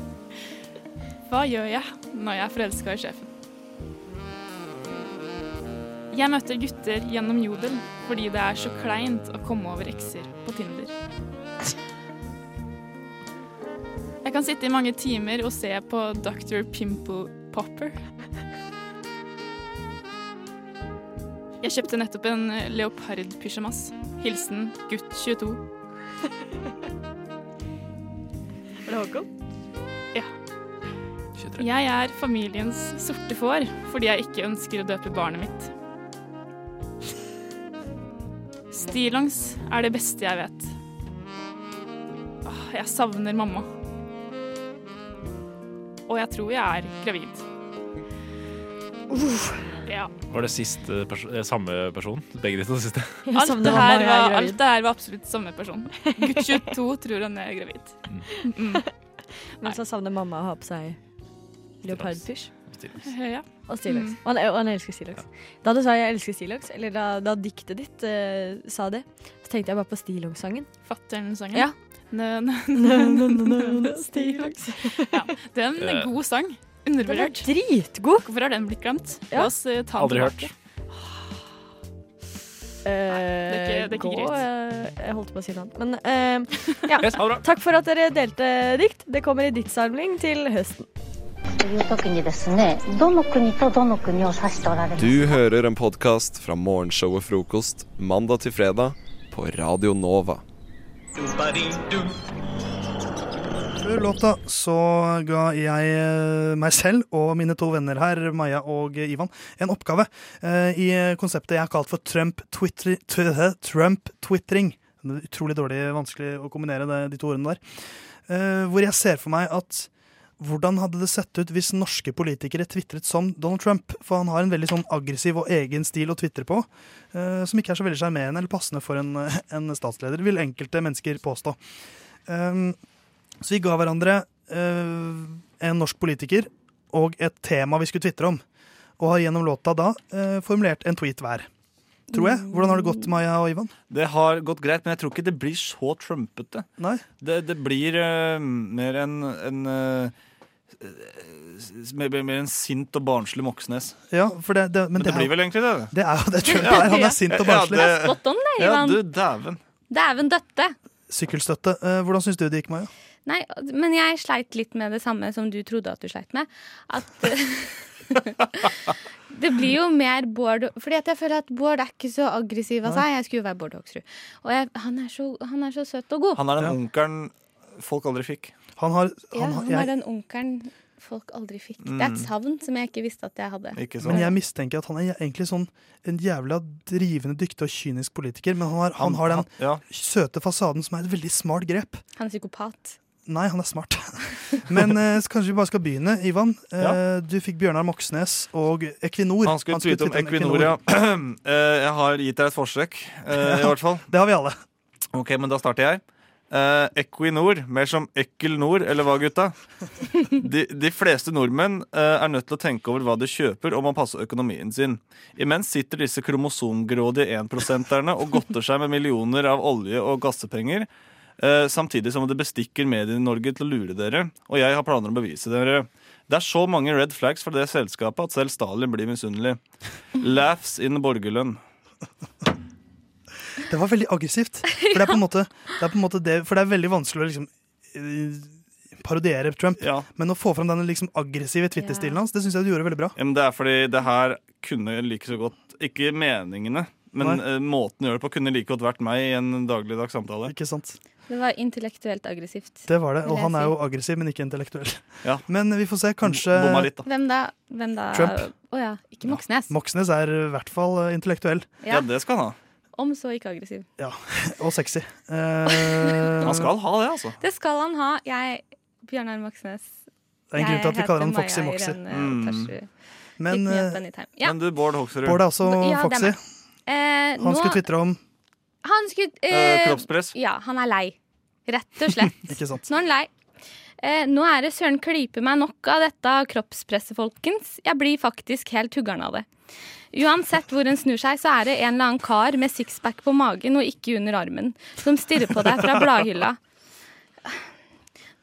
S22: Hva gjør jeg når jeg er forelska i sjefen? Jeg møter gutter gjennom Jodel fordi det er så kleint å komme over ekser på Tinder. Jeg kan sitte i mange timer og se på Dr. Pimple Popper. Jeg kjøpte nettopp en leopardpysjamas. Hilsen gutt 22.
S2: Er det Håkon?
S22: Ja. Jeg er familiens sorte får fordi jeg ikke ønsker å døpe barnet mitt. Stillongs er det beste jeg vet. Åh, Jeg savner mamma. Og jeg tror jeg er gravid. Ja.
S23: Var det siste perso eh, samme person? Begge de to siste?
S22: Alt det, her var, alt det her var absolutt samme person. Gutt 22 tror han er gravid. Mm.
S2: Men så savner mamma å ha på seg leopardpysj.
S22: Ja.
S2: Og stillongs.
S22: Mm.
S2: Og han, og han elsker stillongs. Da du sa 'jeg elsker stillongs', eller da, da diktet ditt eh, sa det, så tenkte jeg bare på stillongsangen.
S22: Fatter'n-sangen.
S2: Ja.
S22: Nø, nø,
S2: Nø, nø, nø, nø, nø,
S22: Stillongs. Ja, det er
S2: Det er-
S22: en god sang.
S2: Den er
S22: Undervurdert.
S2: dritgod.
S22: Hvorfor har den blitt glemt?
S2: Ja.
S22: La oss eh, ta den
S23: Aldri hørt.
S22: er ikke- det er ikke
S2: gå,
S22: greit.
S2: eh, Jeg holdt på å si noe annet. Men eh, ja. Takk for at dere delte dikt. Det kommer i diktsamling til høsten.
S3: という時にですねどの国とどの国を指しておられます
S21: Du hører en podkast fra morgenshow og frokost mandag til fredag på Radio Nova.
S14: Før låta så ga jeg eh, meg selv og mine to venner her, Maja og eh, Ivan, en oppgave eh, i konseptet jeg har kalt for Trump-twittering. Trump utrolig dårlig vanskelig å kombinere det, de to ordene der. Eh, Hvor jeg ser for meg at hvordan hadde det sett ut hvis norske politikere tvitret som Donald Trump? For han har en veldig sånn aggressiv og egen stil å tvitre på, eh, som ikke er så veldig sjarmerende eller passende for en, en statsleder, vil enkelte mennesker påstå. Um, så vi ga hverandre eh, en norsk politiker og et tema vi skulle tvitre om. Og har gjennom låta da eh, formulert en tweet hver. Tror jeg. Hvordan har det gått, Maja og Ivan?
S11: Det har gått greit, men jeg tror ikke det blir så trumpete.
S14: Nei?
S11: Det, det blir eh, mer en, en eh, s- s- mer, mer en sint og barnslig Moxnes.
S14: Ja, for det, det, men,
S11: Men det
S14: er
S11: blir
S14: jo-
S11: vel egentlig det?
S14: Det er jo det Trump er. Han er sint og barnslig.
S11: Ja, det-
S4: Spot on, det,
S11: Ja,
S4: Ivan.
S11: du dæven.
S4: Dæven døtte.
S14: Sykkelstøtte. Eh, hvordan syns du det gikk, Maja?
S4: Nei, men jeg sleit litt med det samme som du trodde at du sleit med. At eh, Det blir jo mer Bård Fordi at jeg føler at Bård er ikke så aggressiv av seg. Jeg skulle jo være Bård Hoksrud. Og jeg, han, er så, han er så søt og god.
S11: Han er den onkelen folk aldri fikk.
S14: Han har,
S4: ja, han er den onkelen folk aldri fikk.
S14: Mm.
S4: Det er et savn som jeg ikke visste at jeg hadde.
S14: Men jeg mistenker at han er egentlig sånn en jævla drivende dyktig og kynisk politiker. Men han har, han,
S4: Han-
S14: har den
S4: han- ja.
S14: søte fasaden som er et veldig smart grep.
S4: Han er psykopat.
S14: Nei, han er smart. Men eh, så kanskje vi bare skal begynne, Ivan. Eh,
S11: Ja.
S14: Du fikk Bjørnar Moxnes og Equinor.
S11: Han skulle tweete om Equinor, ja. Eh, jeg har gitt deg et forsøk, eh, i hvert fall.
S14: Det har vi alle.
S11: Ok, men da starter jeg. Eh, Equinor, mer som Ekkel Nord, eller hva, gutta? De, de fleste nordmenn eh, er nødt til å tenke over hva de kjøper, og må passe økonomien sin. Imens sitter disse kromosomgrådige 1%-erne og godter seg med millioner av olje- og gassepenger, eh, samtidig som det bestikker Medie-Norge til å lure dere, og jeg har planer om å bevise dere. Det er så mange red flags fra det selskapet at selv Stalin blir misunnelig. Laughs in borgerlønn.
S14: Det var veldig aggressivt. For det er på en måte det, er på en måte det, for det er veldig vanskelig å liksom eh, parodiere Trump. Men å få fram denne liksom aggressive Twitter-stilen hans, det syns jeg du gjorde veldig bra.
S11: Ja, men det er fordi det her kunne like så godt Ikke meningene, men
S14: Nei.
S11: eh, måten å gjøre det på kunne like godt vært meg i en dagligdags samtale.
S14: Ikke sant?
S5: Det var intellektuelt aggressivt.
S14: Det var det.
S5: vil
S14: Og
S5: jeg
S14: han er
S5: si.
S14: jo aggressiv, men ikke intellektuell.
S11: Ja.
S14: Men vi får se. Kanskje
S11: Bomma litt,
S5: Hvem da? Hvem da?
S14: Trump.
S5: Å ja, ikke Moxnes.
S14: Moxnes er i hvert fall eh, intellektuell.
S5: Ja. Ja, det
S11: skal han ha.
S5: Om så ikke aggressiv.
S14: Ja. Og sexy. Eh, han
S11: skal ha det, altså.
S5: Eh, Det skal han ha. Jeg Bjørnar Moxnes.
S14: Det er en grunn til at vi kaller han Foxy Moxy.
S5: eh,
S14: Mm. Men, eh,
S5: ja.
S11: Men du, Bård Hoksrud.
S14: Bård er også
S5: Ja, det er
S14: Foxy.
S5: meg. Eh,
S14: Han
S5: nå-
S14: skulle tvitre om
S5: Han skulle
S11: Eh, kroppspress.
S5: Ja, han er lei. Rett og slett.
S14: Ikke sant.
S5: Nå er han lei. Eh, nå er det søren klype meg nok av dette kroppspresset, folkens. Jeg blir faktisk helt huggaren av det. Uansett hvor en snur seg, så er det en eller annen kar med sixpack på magen og ikke under armen, som stirrer på deg fra bladhylla.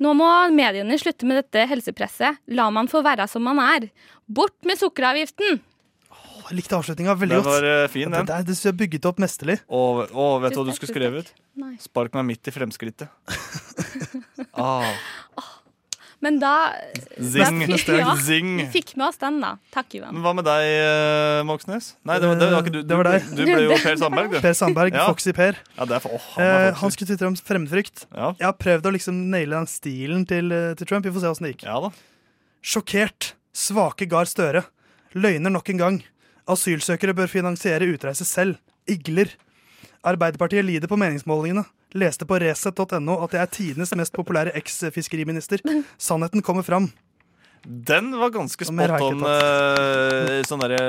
S5: Nå må mediene slutte med dette helsepresset. La man få være som man er. Bort med sukkeravgiften!
S14: Å, Jeg likte avslutninga veldig
S11: Den
S14: godt.
S11: var, eh, fin, den.
S14: Det, der- det synes jeg bygget opp mesterlig.
S11: Og, og vet du hva du
S14: Tusen takk,
S11: skulle
S14: tusen
S11: skrevet?
S5: Nei.
S11: Spark meg midt i fremskrittet. ah.
S5: Men da
S11: Zing.
S5: da- Ja,
S11: Zing.
S5: vi fikk med oss den, da. Takk, Ivan.
S11: Men hva med deg, eh, Moxnes? Nei, det var, det var ikke du.
S14: Eh, Det var deg.
S11: Du, du ble jo Per Sandberg, du.
S14: Per Sandberg, Foxy Per.
S11: Ja, det er for, åh, han er
S14: Eh,
S11: Foxy.
S14: han skulle tvitre om fremmedfrykt. Jeg har prøvd å liksom naile den stilen til, eh, til Trump. Vi får se åssen det gikk. Sjokkert. Svake Gahr Støre. Løgner nok en gang. Asylsøkere bør finansiere utreise selv. Igler. Arbeiderpartiet lider på meningsmålingene. Leste på resett.no at jeg er tidenes mest populære eks-fiskeriminister. Sannheten kommer fram.
S11: Den var ganske
S14: mer har
S11: spot
S14: jeg
S11: on.
S14: ikke
S11: eh, sånn derre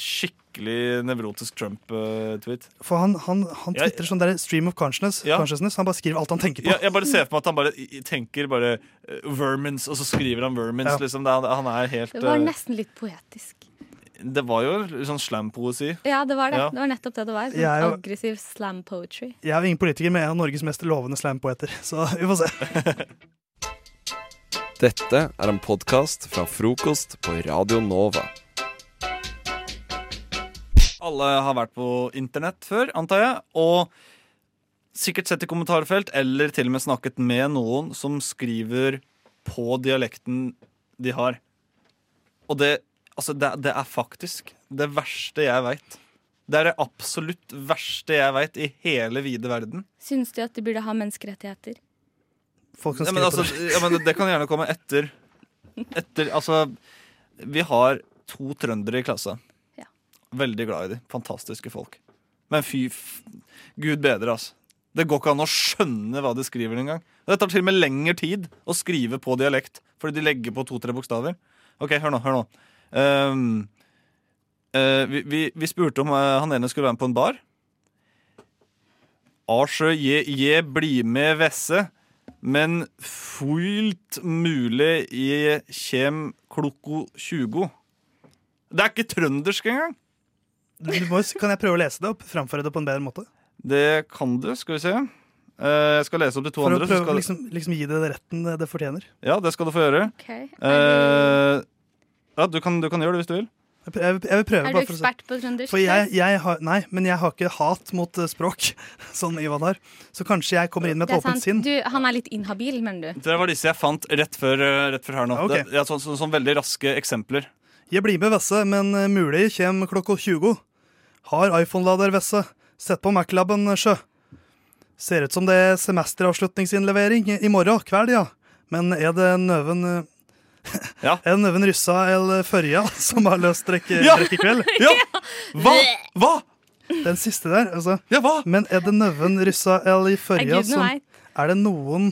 S11: skikkelig nevrotisk Trump-tweet.
S14: For han, han, han
S11: Jeg-
S14: tvitrer sånn der stream of consciousness,
S11: Ja.
S14: consciousness. Han bare skriver alt han tenker på.
S11: Jeg, jeg bare ser for meg at han bare i- i- tenker bare eh, Vermins, og så skriver han Vermins.
S14: Ja.
S11: Liksom. Det, han, han er helt
S5: Det var
S11: eh,
S5: nesten litt poetisk.
S11: det var jo sånn slam-poesi.
S5: Ja, det var det.
S11: Ja.
S5: Det var nettopp det det var. Sånn
S14: Jeg er jo-
S5: aggressiv slam poetry.
S14: Jeg er jo ingen politiker, men jeg er Norges mest lovende slampoeter. Så vi får se.
S21: Dette er en podkast fra frokost på Radio Nova.
S11: Alle har vært på internett før, antar jeg. Og sikkert sett i kommentarfelt, eller til og med snakket med noen som skriver på dialekten de har. Og det, altså, det, det er faktisk det verste jeg veit. Det er det absolutt verste jeg veit i hele vide verden.
S5: Syns du at de burde ha menneskerettigheter?
S14: Folk
S11: Ja, men, altså, ja, men det kan gjerne komme etter. Etter, altså Vi har to trøndere i klassa. Veldig glad i de. Fantastiske folk. Men fy f Gud bedre, altså. Det går ikke an å skjønne hva de skriver engang. Det tar til og med lengre tid å skrive på dialekt fordi de legger på to-tre bokstaver. OK, hør nå. hør nå Ehm, eh, vi, vi, vi spurte om eh, han ene skulle være med på en bar. Arsjø, je, je bli med Vesse, men fullt mulig je kjem klokko 20. Det er ikke trøndersk engang!
S14: Du må, kan jeg prøve å lese det opp? Framføre det på en bedre måte?
S11: Det kan du, skal vi se. Eh, Jeg skal lese opp de to
S14: For å
S11: andre. så
S14: prøve å
S11: skal...
S14: liksom, liksom gi det retten det fortjener.
S11: Ja, det skal du få gjøre.
S5: Ok.
S11: Eh, ja, du kan, du kan gjøre det hvis du vil.
S14: Jeg, pr- jeg, vil- jeg vil prøve
S5: Er du
S14: bare for å se.
S5: ekspert på trøndersk?
S14: For jeg, jeg har, nei, men jeg har ikke hat mot eh, språk, som Ivan har. Så kanskje jeg kommer inn
S5: det
S14: med et
S5: er sant.
S14: åpent sinn.
S5: Du, han er litt inhabil, mener du?
S11: Det var disse jeg fant rett før, eh, rett før her nå.
S14: Ja, ok.
S11: Det, ja, sånn- sånn- sånn veldig raske eksempler.
S14: Jeg blir med Vesse, men eh, mulig kjem klokka 20. Har iPhone-lader, Vesse. Sett på Mac-laben, eh, sjø. Ser ut som det er semesteravslutningsinnlevering i morgen kveld, ja. Men er det Nøven eh, Er det Nøven Ryssa eller Førja som har løst trekke,
S11: Ja!
S14: trekkekveld?
S11: Ja! Hva? Hva?
S14: Den siste der, altså.
S11: Ja, hva?
S14: Men er det Nøven Ryssa eller Førja
S11: gudene
S14: som
S11: veit.
S14: Er det noen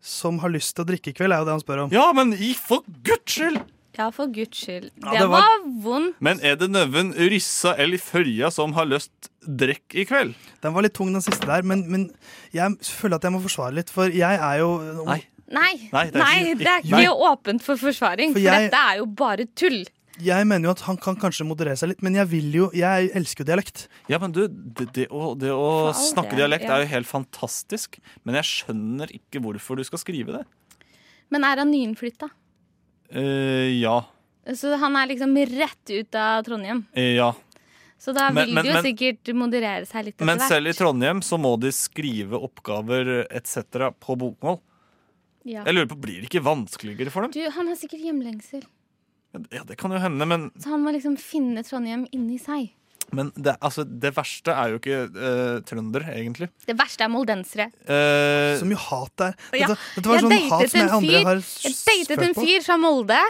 S14: som har lyst til å drikke i kveld, er jo det han spør om.
S11: Ja, men i for guds skyld!
S5: Ja, for guds skyld.
S11: Ja,
S5: det,
S11: det var-
S5: var... vondt.
S11: Men er det Nøven, Ryssa eller Førja som har løst drekk i kveld?
S14: Den var litt tung, den siste der, men, men jeg føler at jeg må forsvare litt, for jeg er jo
S11: Nei.
S5: Nei,
S14: Nei, det er ikke-
S5: det er ikke
S14: Nei.
S5: åpent for forsvaring,
S14: For
S5: for,
S14: jeg-
S5: dette er jo bare tull.
S14: Jeg mener jo at han kan kanskje moderere seg litt, men jeg vil jo Jeg elsker jo dialekt.
S11: Ja, men du, det, det å, det å
S14: For all
S11: snakke
S14: del,
S11: dialekt
S14: ja.
S11: er jo helt fantastisk, men jeg skjønner ikke hvorfor du skal skrive det.
S5: Men er han nyinnflytta?
S11: Eh, ja.
S5: Så han er liksom rett ut av Trondheim.
S11: Eh, ja.
S5: Så da
S11: Men-
S5: vil
S11: men-
S5: det jo
S11: men-
S5: sikkert moderere seg litt
S11: Men
S5: etter hvert.
S11: selv i Trondheim så må de skrive oppgaver etc. på bokmål.
S5: Ja.
S11: Jeg lurer på, Blir det ikke vanskeligere for dem?
S5: Du, han har sikkert hjemlengsel.
S11: Ja, Det kan jo hende, men,
S5: Så han må liksom finne Trondheim inni seg.
S11: men det, altså, det verste er jo ikke eh, trønder, egentlig. Eh,
S5: Det verste er moldensere.
S11: så mye hat der.
S5: Ja, jeg
S11: sånn
S5: datet en fyr- Jeg datet en fyr fra Molde,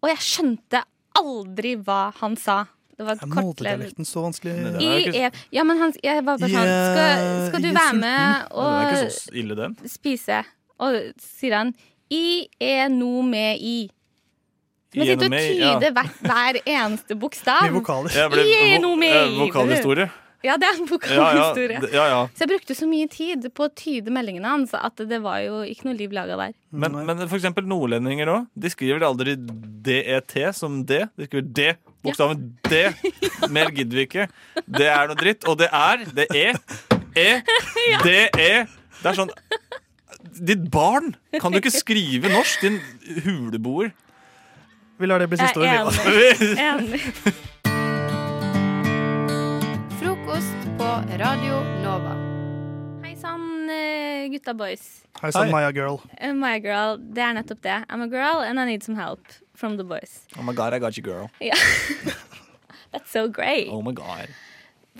S5: og jeg skjønte aldri hva han sa. Det var
S14: Er
S5: kortlevd.
S14: Molde-dialekten så vanskelig?
S5: I, E- ja, men han, jeg var bare
S14: I,
S5: sånn Skal, skal du
S14: i
S5: være
S14: sulten?
S5: med
S11: Nei, den er ikke sånn.
S5: og
S11: så ille, den.
S5: spise? Og sier han I er no med i. Men
S11: I er
S5: sitter
S11: no
S5: og
S11: med i, ja.
S5: tyder hver, hver eneste bokstav.
S11: Jeg ble
S5: I er
S11: vo-
S5: no med
S11: eh,
S5: i.
S11: Vokalhistorie.
S5: Ja, det er en
S11: Ja,
S5: vokalhistorie.
S11: ja, d- ja, ja.
S5: Så jeg brukte så mye tid på å tyde meldingene hans at det var jo ikke noe liv laga der.
S11: Men, men for eksempel nordlendinger òg. De skriver aldri DET som D. De skriver D. Bokstaven D. Mer gidder vi ikke. Det er noe dritt. Og det er det er E. DE. Det er sånn Ditt barn! Kan du ikke skrive norsk, din huleboer?
S14: Vi lar det bli siste
S5: Jeg er
S14: ordet.
S11: enig.
S5: Enig.
S9: Frokost på Radio Nova.
S5: Hei sann, eh, gutta boys.
S14: Hei sann, Maya girl.
S5: Eh, My girl. Det er nettopp det. I'm a girl and I need some help from the boys.
S11: Oh my god, I got you, girl.
S5: Ja. That's so great.
S11: Oh my god.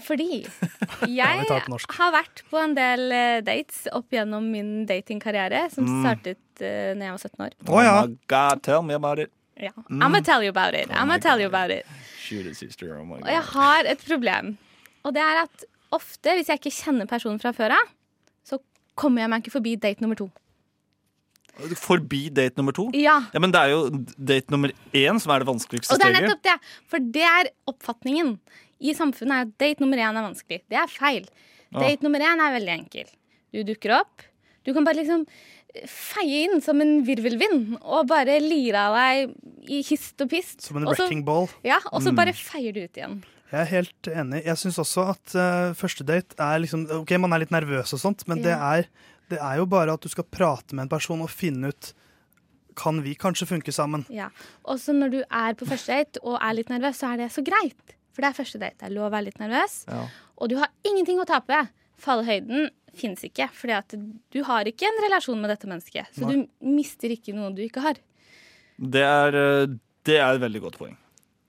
S5: Fordi
S11: Ja, vi
S5: jeg
S11: tar på norsk.
S5: har vært på en del eh, dates opp gjennom min datingkarriere, som
S11: Mm.
S5: startet uh, når jeg var 17 år.
S11: Oh my god, tell me about it.
S5: Ja.
S11: Mm.
S5: I'm gonna tell you about it. I'm gonna tell you about it.
S11: Shoot it, sister. Oh my
S5: Og jeg
S11: god.
S5: har et problem. Og det er at ofte, hvis jeg ikke kjenner personen fra før av, så kommer jeg meg ikke forbi date nummer to.
S11: Forbi date nummer to?
S5: Ja.
S11: ja. Men det er jo date nummer én som er det vanskeligste
S5: Og det er
S11: steget.
S5: nettopp det, for det er oppfatningen i samfunnet er at date nummer én er vanskelig. Det er feil.
S14: Ah.
S11: Ja.
S5: Date nummer én er veldig enkel. Du dukker opp. Du kan bare liksom feie inn som en virvelvind og bare lire av deg i hist og pist.
S14: Som en
S5: Og så-
S14: wrecking ball.
S5: Ja, og så
S14: Mm.
S5: bare feier du ut igjen.
S14: Jeg er helt enig. Jeg syns også at eh, første date er liksom OK, man er litt nervøs og sånt, men det,
S5: Ja.
S14: er, det er jo bare at du skal prate med en person og finne ut Kan vi kanskje funke sammen?
S5: Ja. Og så når du er på første date og er litt nervøs, så er det så greit. For det er første date. Det er lov å være litt nervøs. Og du har ingenting å tape. Fallhøyden finnes ikke, fordi at du har ikke en relasjon med dette mennesket. Så
S11: Nei.
S5: du mister ikke noe du ikke har.
S11: Det er, eh, det er et veldig godt poeng.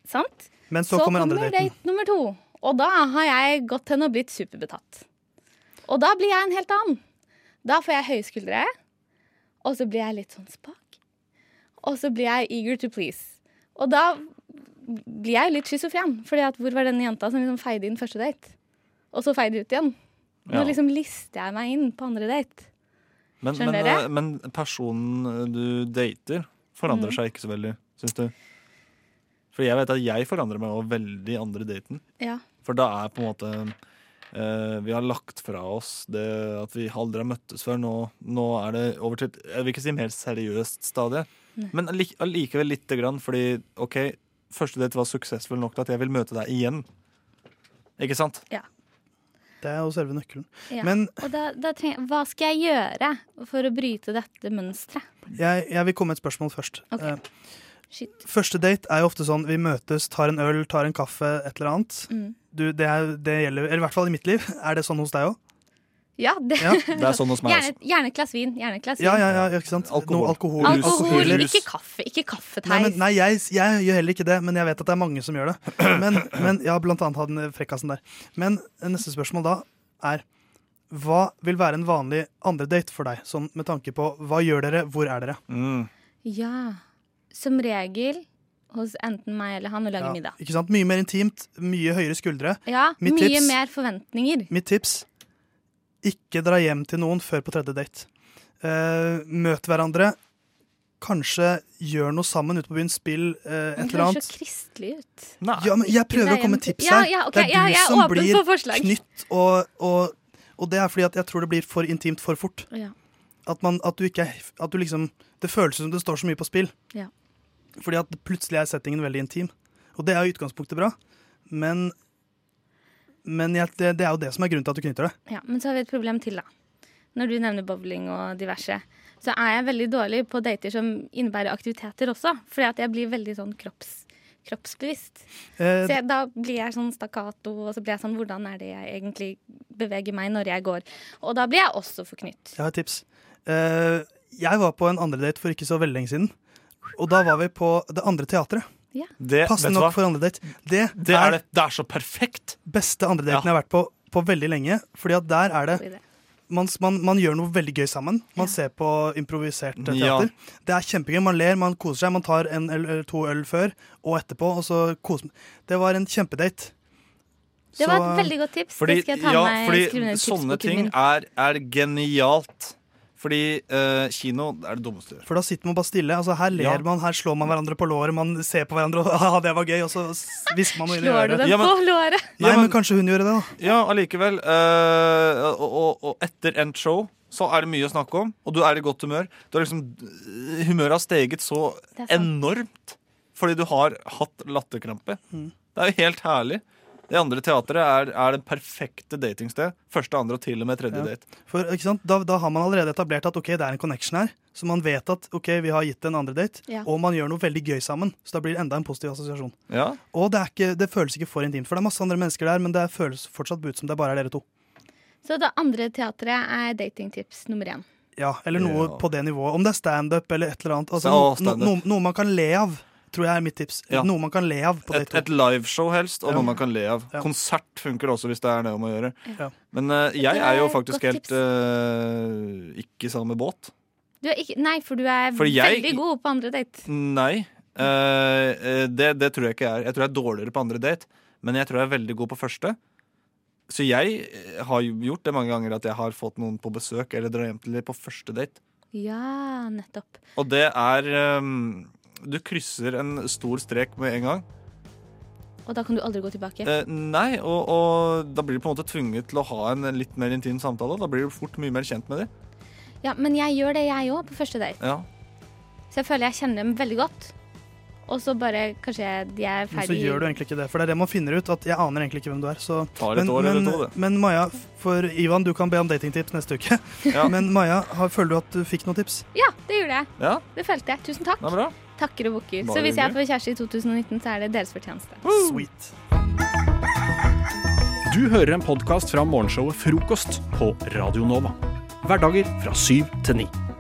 S5: Sant?
S11: Men så kommer andre daten.
S5: date nummer to. Og da har jeg gått hen og blitt superbetatt. Og da blir jeg en helt annen. Da får jeg høye skuldre, og så blir jeg litt sånn spak. Og så blir jeg eager to please. Og da blir jeg jo litt schizofren. Fordi at hvor var denne jenta som liksom feide inn første date? Og så feide ut igjen. Nå
S11: Ja.
S5: liksom lister jeg meg inn på andre date.
S11: Men, men,
S5: Skjønner
S11: eh,
S5: dere?
S11: men personen du dater, forandrer
S5: Mm.
S11: seg ikke så veldig, syns du? For jeg vet at jeg forandrer meg også veldig i andre daten.
S5: Ja.
S11: For da er på en måte eh, Vi har lagt fra oss det at vi aldri har møttes før. Nå, nå er det over til et- Jeg vil ikke si mer seriøst stadie,
S5: Nei.
S11: men allik- allikevel lite grann. Fordi OK, første date var suksessfull nok til at jeg vil møte deg igjen. Ikke sant?
S14: Det er jo selve nøkkelen.
S11: eh,
S5: Ja.
S14: Men
S5: og da, da trenger, hva skal jeg gjøre for å bryte dette mønsteret?
S14: jeg, jeg vil komme med et spørsmål først.
S5: Ok.
S14: Eh,
S5: Shit.
S14: Første date er jo ofte sånn vi møtes, tar en øl, tar en kaffe, et eller annet.
S5: Mm.
S14: Du, det, er, det gjelder, eller i hvert fall i mitt liv. Er det sånn hos deg òg?
S5: Ja, det,
S14: Ja, det er sånn hos meg
S5: gjerne, gjerne et glass vin. Gjerne et glass vin.
S14: Ja, ja, ja, ikke sant? Alkohol. Noe alkohol.
S5: Altså, Alkohol,
S14: Alkohol.
S5: ikke kaffe. Ikke kaffe,
S14: Nei, men,
S5: Theis.
S14: nei jeg, jeg gjør heller ikke det, men jeg vet at det er mange som gjør det. Men, men ja, blant annet hadde den frekkasen der. Men eh, neste spørsmål da er hva vil være en vanlig andre date for deg, sånn med tanke på hva gjør dere, hvor er dere?
S5: Ja. Som regel hos enten meg eller han å lage
S14: Ja,
S5: middag.
S14: ikke sant? Mye mer intimt, mye høyere skuldre.
S5: Ja,
S14: Mitt
S5: mye
S14: tips-
S5: mer forventninger.
S14: Mitt tips ikke dra hjem til noen før på tredje date. Eh, møt hverandre. Kanskje gjør noe sammen ute på byen. Spill eh,
S5: Han
S14: et eller
S5: høres så
S14: annet.
S5: kristelig ut.
S14: Ja, men jeg
S5: Ikke
S14: prøver
S5: dra
S14: å komme
S5: hjem
S14: med
S5: til-
S14: tips
S5: Ja,
S14: her.
S5: ja, ok,
S14: det er du
S5: jeg- jeg er
S14: som
S5: åpen for
S14: blir
S5: forslag.
S14: knytt, og, og, og det er fordi at jeg tror det blir for intimt for fort.
S5: Ja.
S14: At, man, at du ikke er- at du liksom, Det føles som det står så mye på spill.
S5: Ja.
S14: Fordi at plutselig er settingen veldig intim. Og det er jo i utgangspunktet bra, men, men jeg, det, det er jo det som er grunnen til at du knytter det.
S5: Ja, men så har vi et problem til, da. Når du nevner bowling og diverse. så er jeg veldig dårlig på dater som innebærer aktiviteter også. Fordi at jeg blir veldig sånn kropps, kroppsbevisst.
S14: Eh,
S5: Så jeg, da blir jeg sånn stakkato, og så blir jeg sånn Hvordan er det jeg egentlig beveger meg når jeg går? Og da blir jeg også forknytt.
S14: Jeg har et tips. Eh, jeg var på en andre date for ikke så veldig lenge siden. Og da var vi på Det Andre Teatret.
S5: Ja.
S11: Det, vet du
S14: Passende
S11: hva?
S14: nok for andre date. Det,
S11: Det er, det, det er så perfekt!
S14: beste andre daten jeg har vært på på veldig lenge. Fordi at der er det man, man, man gjør noe veldig gøy sammen. Man ser på improvisert eh,
S11: Ja.
S14: teater. Det er kjempegøy. Man ler, man koser seg. Man tar en øl- eller to øl før og etterpå, og så koser man Det var en kjempedate.
S5: Det var
S14: Så,
S5: et veldig godt tips. det skal jeg ta
S11: ja,
S5: med
S11: fordi
S5: skrive ned i
S11: sånne
S5: tipsboken
S11: ting
S5: min.
S11: er, er genialt. Fordi eh, kino er det dummeste.
S14: For da sitter man bare stille. Altså, her ler
S11: Ja.
S14: man, her slår man hverandre på låret, man ser på hverandre og ah, 'det var gøy', og så hvisker man noe inn i
S5: Slår du
S14: øret.
S5: dem på låret?
S14: Nei, men kanskje hun gjorde det, da.
S11: Ja, allikevel. eh, og, og, og etter endt show så er det mye å snakke om, og du er i godt humør. Du har liksom, humøret har steget så
S5: Det er sant.
S11: enormt fordi du har hatt latterkrampe.
S14: Mm.
S11: Det er jo helt herlig. Det andre teatret er, er det perfekte datingsted. Første, andre og til og med tredje
S14: Ja.
S11: date.
S14: For, ikke sant? Da, da har man allerede etablert at ok, det er en connection her. Så man vet at ok, vi har gitt en andre date,
S11: Ja.
S14: og man gjør noe veldig gøy sammen. Så da blir det enda en positiv assosiasjon.
S11: Ja.
S14: Og det, er ikke, det føles ikke for intimt, for det er masse andre mennesker der, men det føles fortsatt ut som det bare er dere to.
S5: Så det andre teatret er datingtips nummer én.
S14: Ja, Eller noe på det nivået. Om det er standup eller et eller annet. Altså,
S11: Ja,
S14: no,
S11: stand-up.
S14: no, noe man kan le av, tror jeg er mitt tips.
S11: Ja.
S14: Noe man kan le av på
S11: Et,
S14: date to.
S11: et liveshow helst, og
S14: Ja.
S11: noe man kan le av.
S14: Ja.
S11: Konsert funker også, hvis det er det om å gjøre.
S14: Ja.
S11: Men eh,
S5: Det
S11: jeg
S5: er
S11: er jo
S5: et
S11: faktisk
S5: godt
S11: helt eh, ikke i samme båt.
S5: Du er ikke, nei, for du er
S11: Fordi jeg-
S5: veldig god på andre date.
S11: Nei. eh, eh, det, det tror jeg ikke jeg er. Jeg tror jeg er dårligere på andre date, men jeg tror jeg er veldig god på første. Så jeg eh, har jo gjort det mange ganger at jeg har fått noen på besøk eller drar hjem til dem på første date.
S5: Ja, nettopp.
S11: Og det er eh, Du krysser en stor strek med en gang.
S5: Og da kan du aldri gå tilbake.
S11: Eh, nei, og, og da blir du på en måte tvunget til å ha en litt mer intim samtale. Da blir du fort mye mer kjent med dem.
S5: Ja, Men jeg gjør det, jeg òg, på første date.
S11: Ja.
S5: Så jeg føler jeg kjenner dem veldig godt. Og så bare kanskje jeg, de er
S14: Men så
S5: ferdig
S14: gjør du egentlig ikke det, for det er det man finner ut. At jeg aner egentlig ikke hvem du er. Så.
S11: Tar et år eller
S14: men,
S11: to, det.
S14: men Maja, for Ivan, du kan be om datingtips neste uke.
S11: Ja.
S14: Men Maja, har, føler du at du fikk noen tips?
S5: Ja, det gjorde jeg.
S11: Ja.
S5: Det følte jeg. Tusen takk.
S11: Det er bra.
S5: Takker og bukker.
S14: Bare
S5: Så hvis jeg
S14: hyggelig.
S5: får kjæreste i 2019, så er det deres fortjeneste.
S14: Sweet.
S24: Du hører en podkast fra morgenshowet Frokost på Radio Nova. Hverdager fra syv til ni.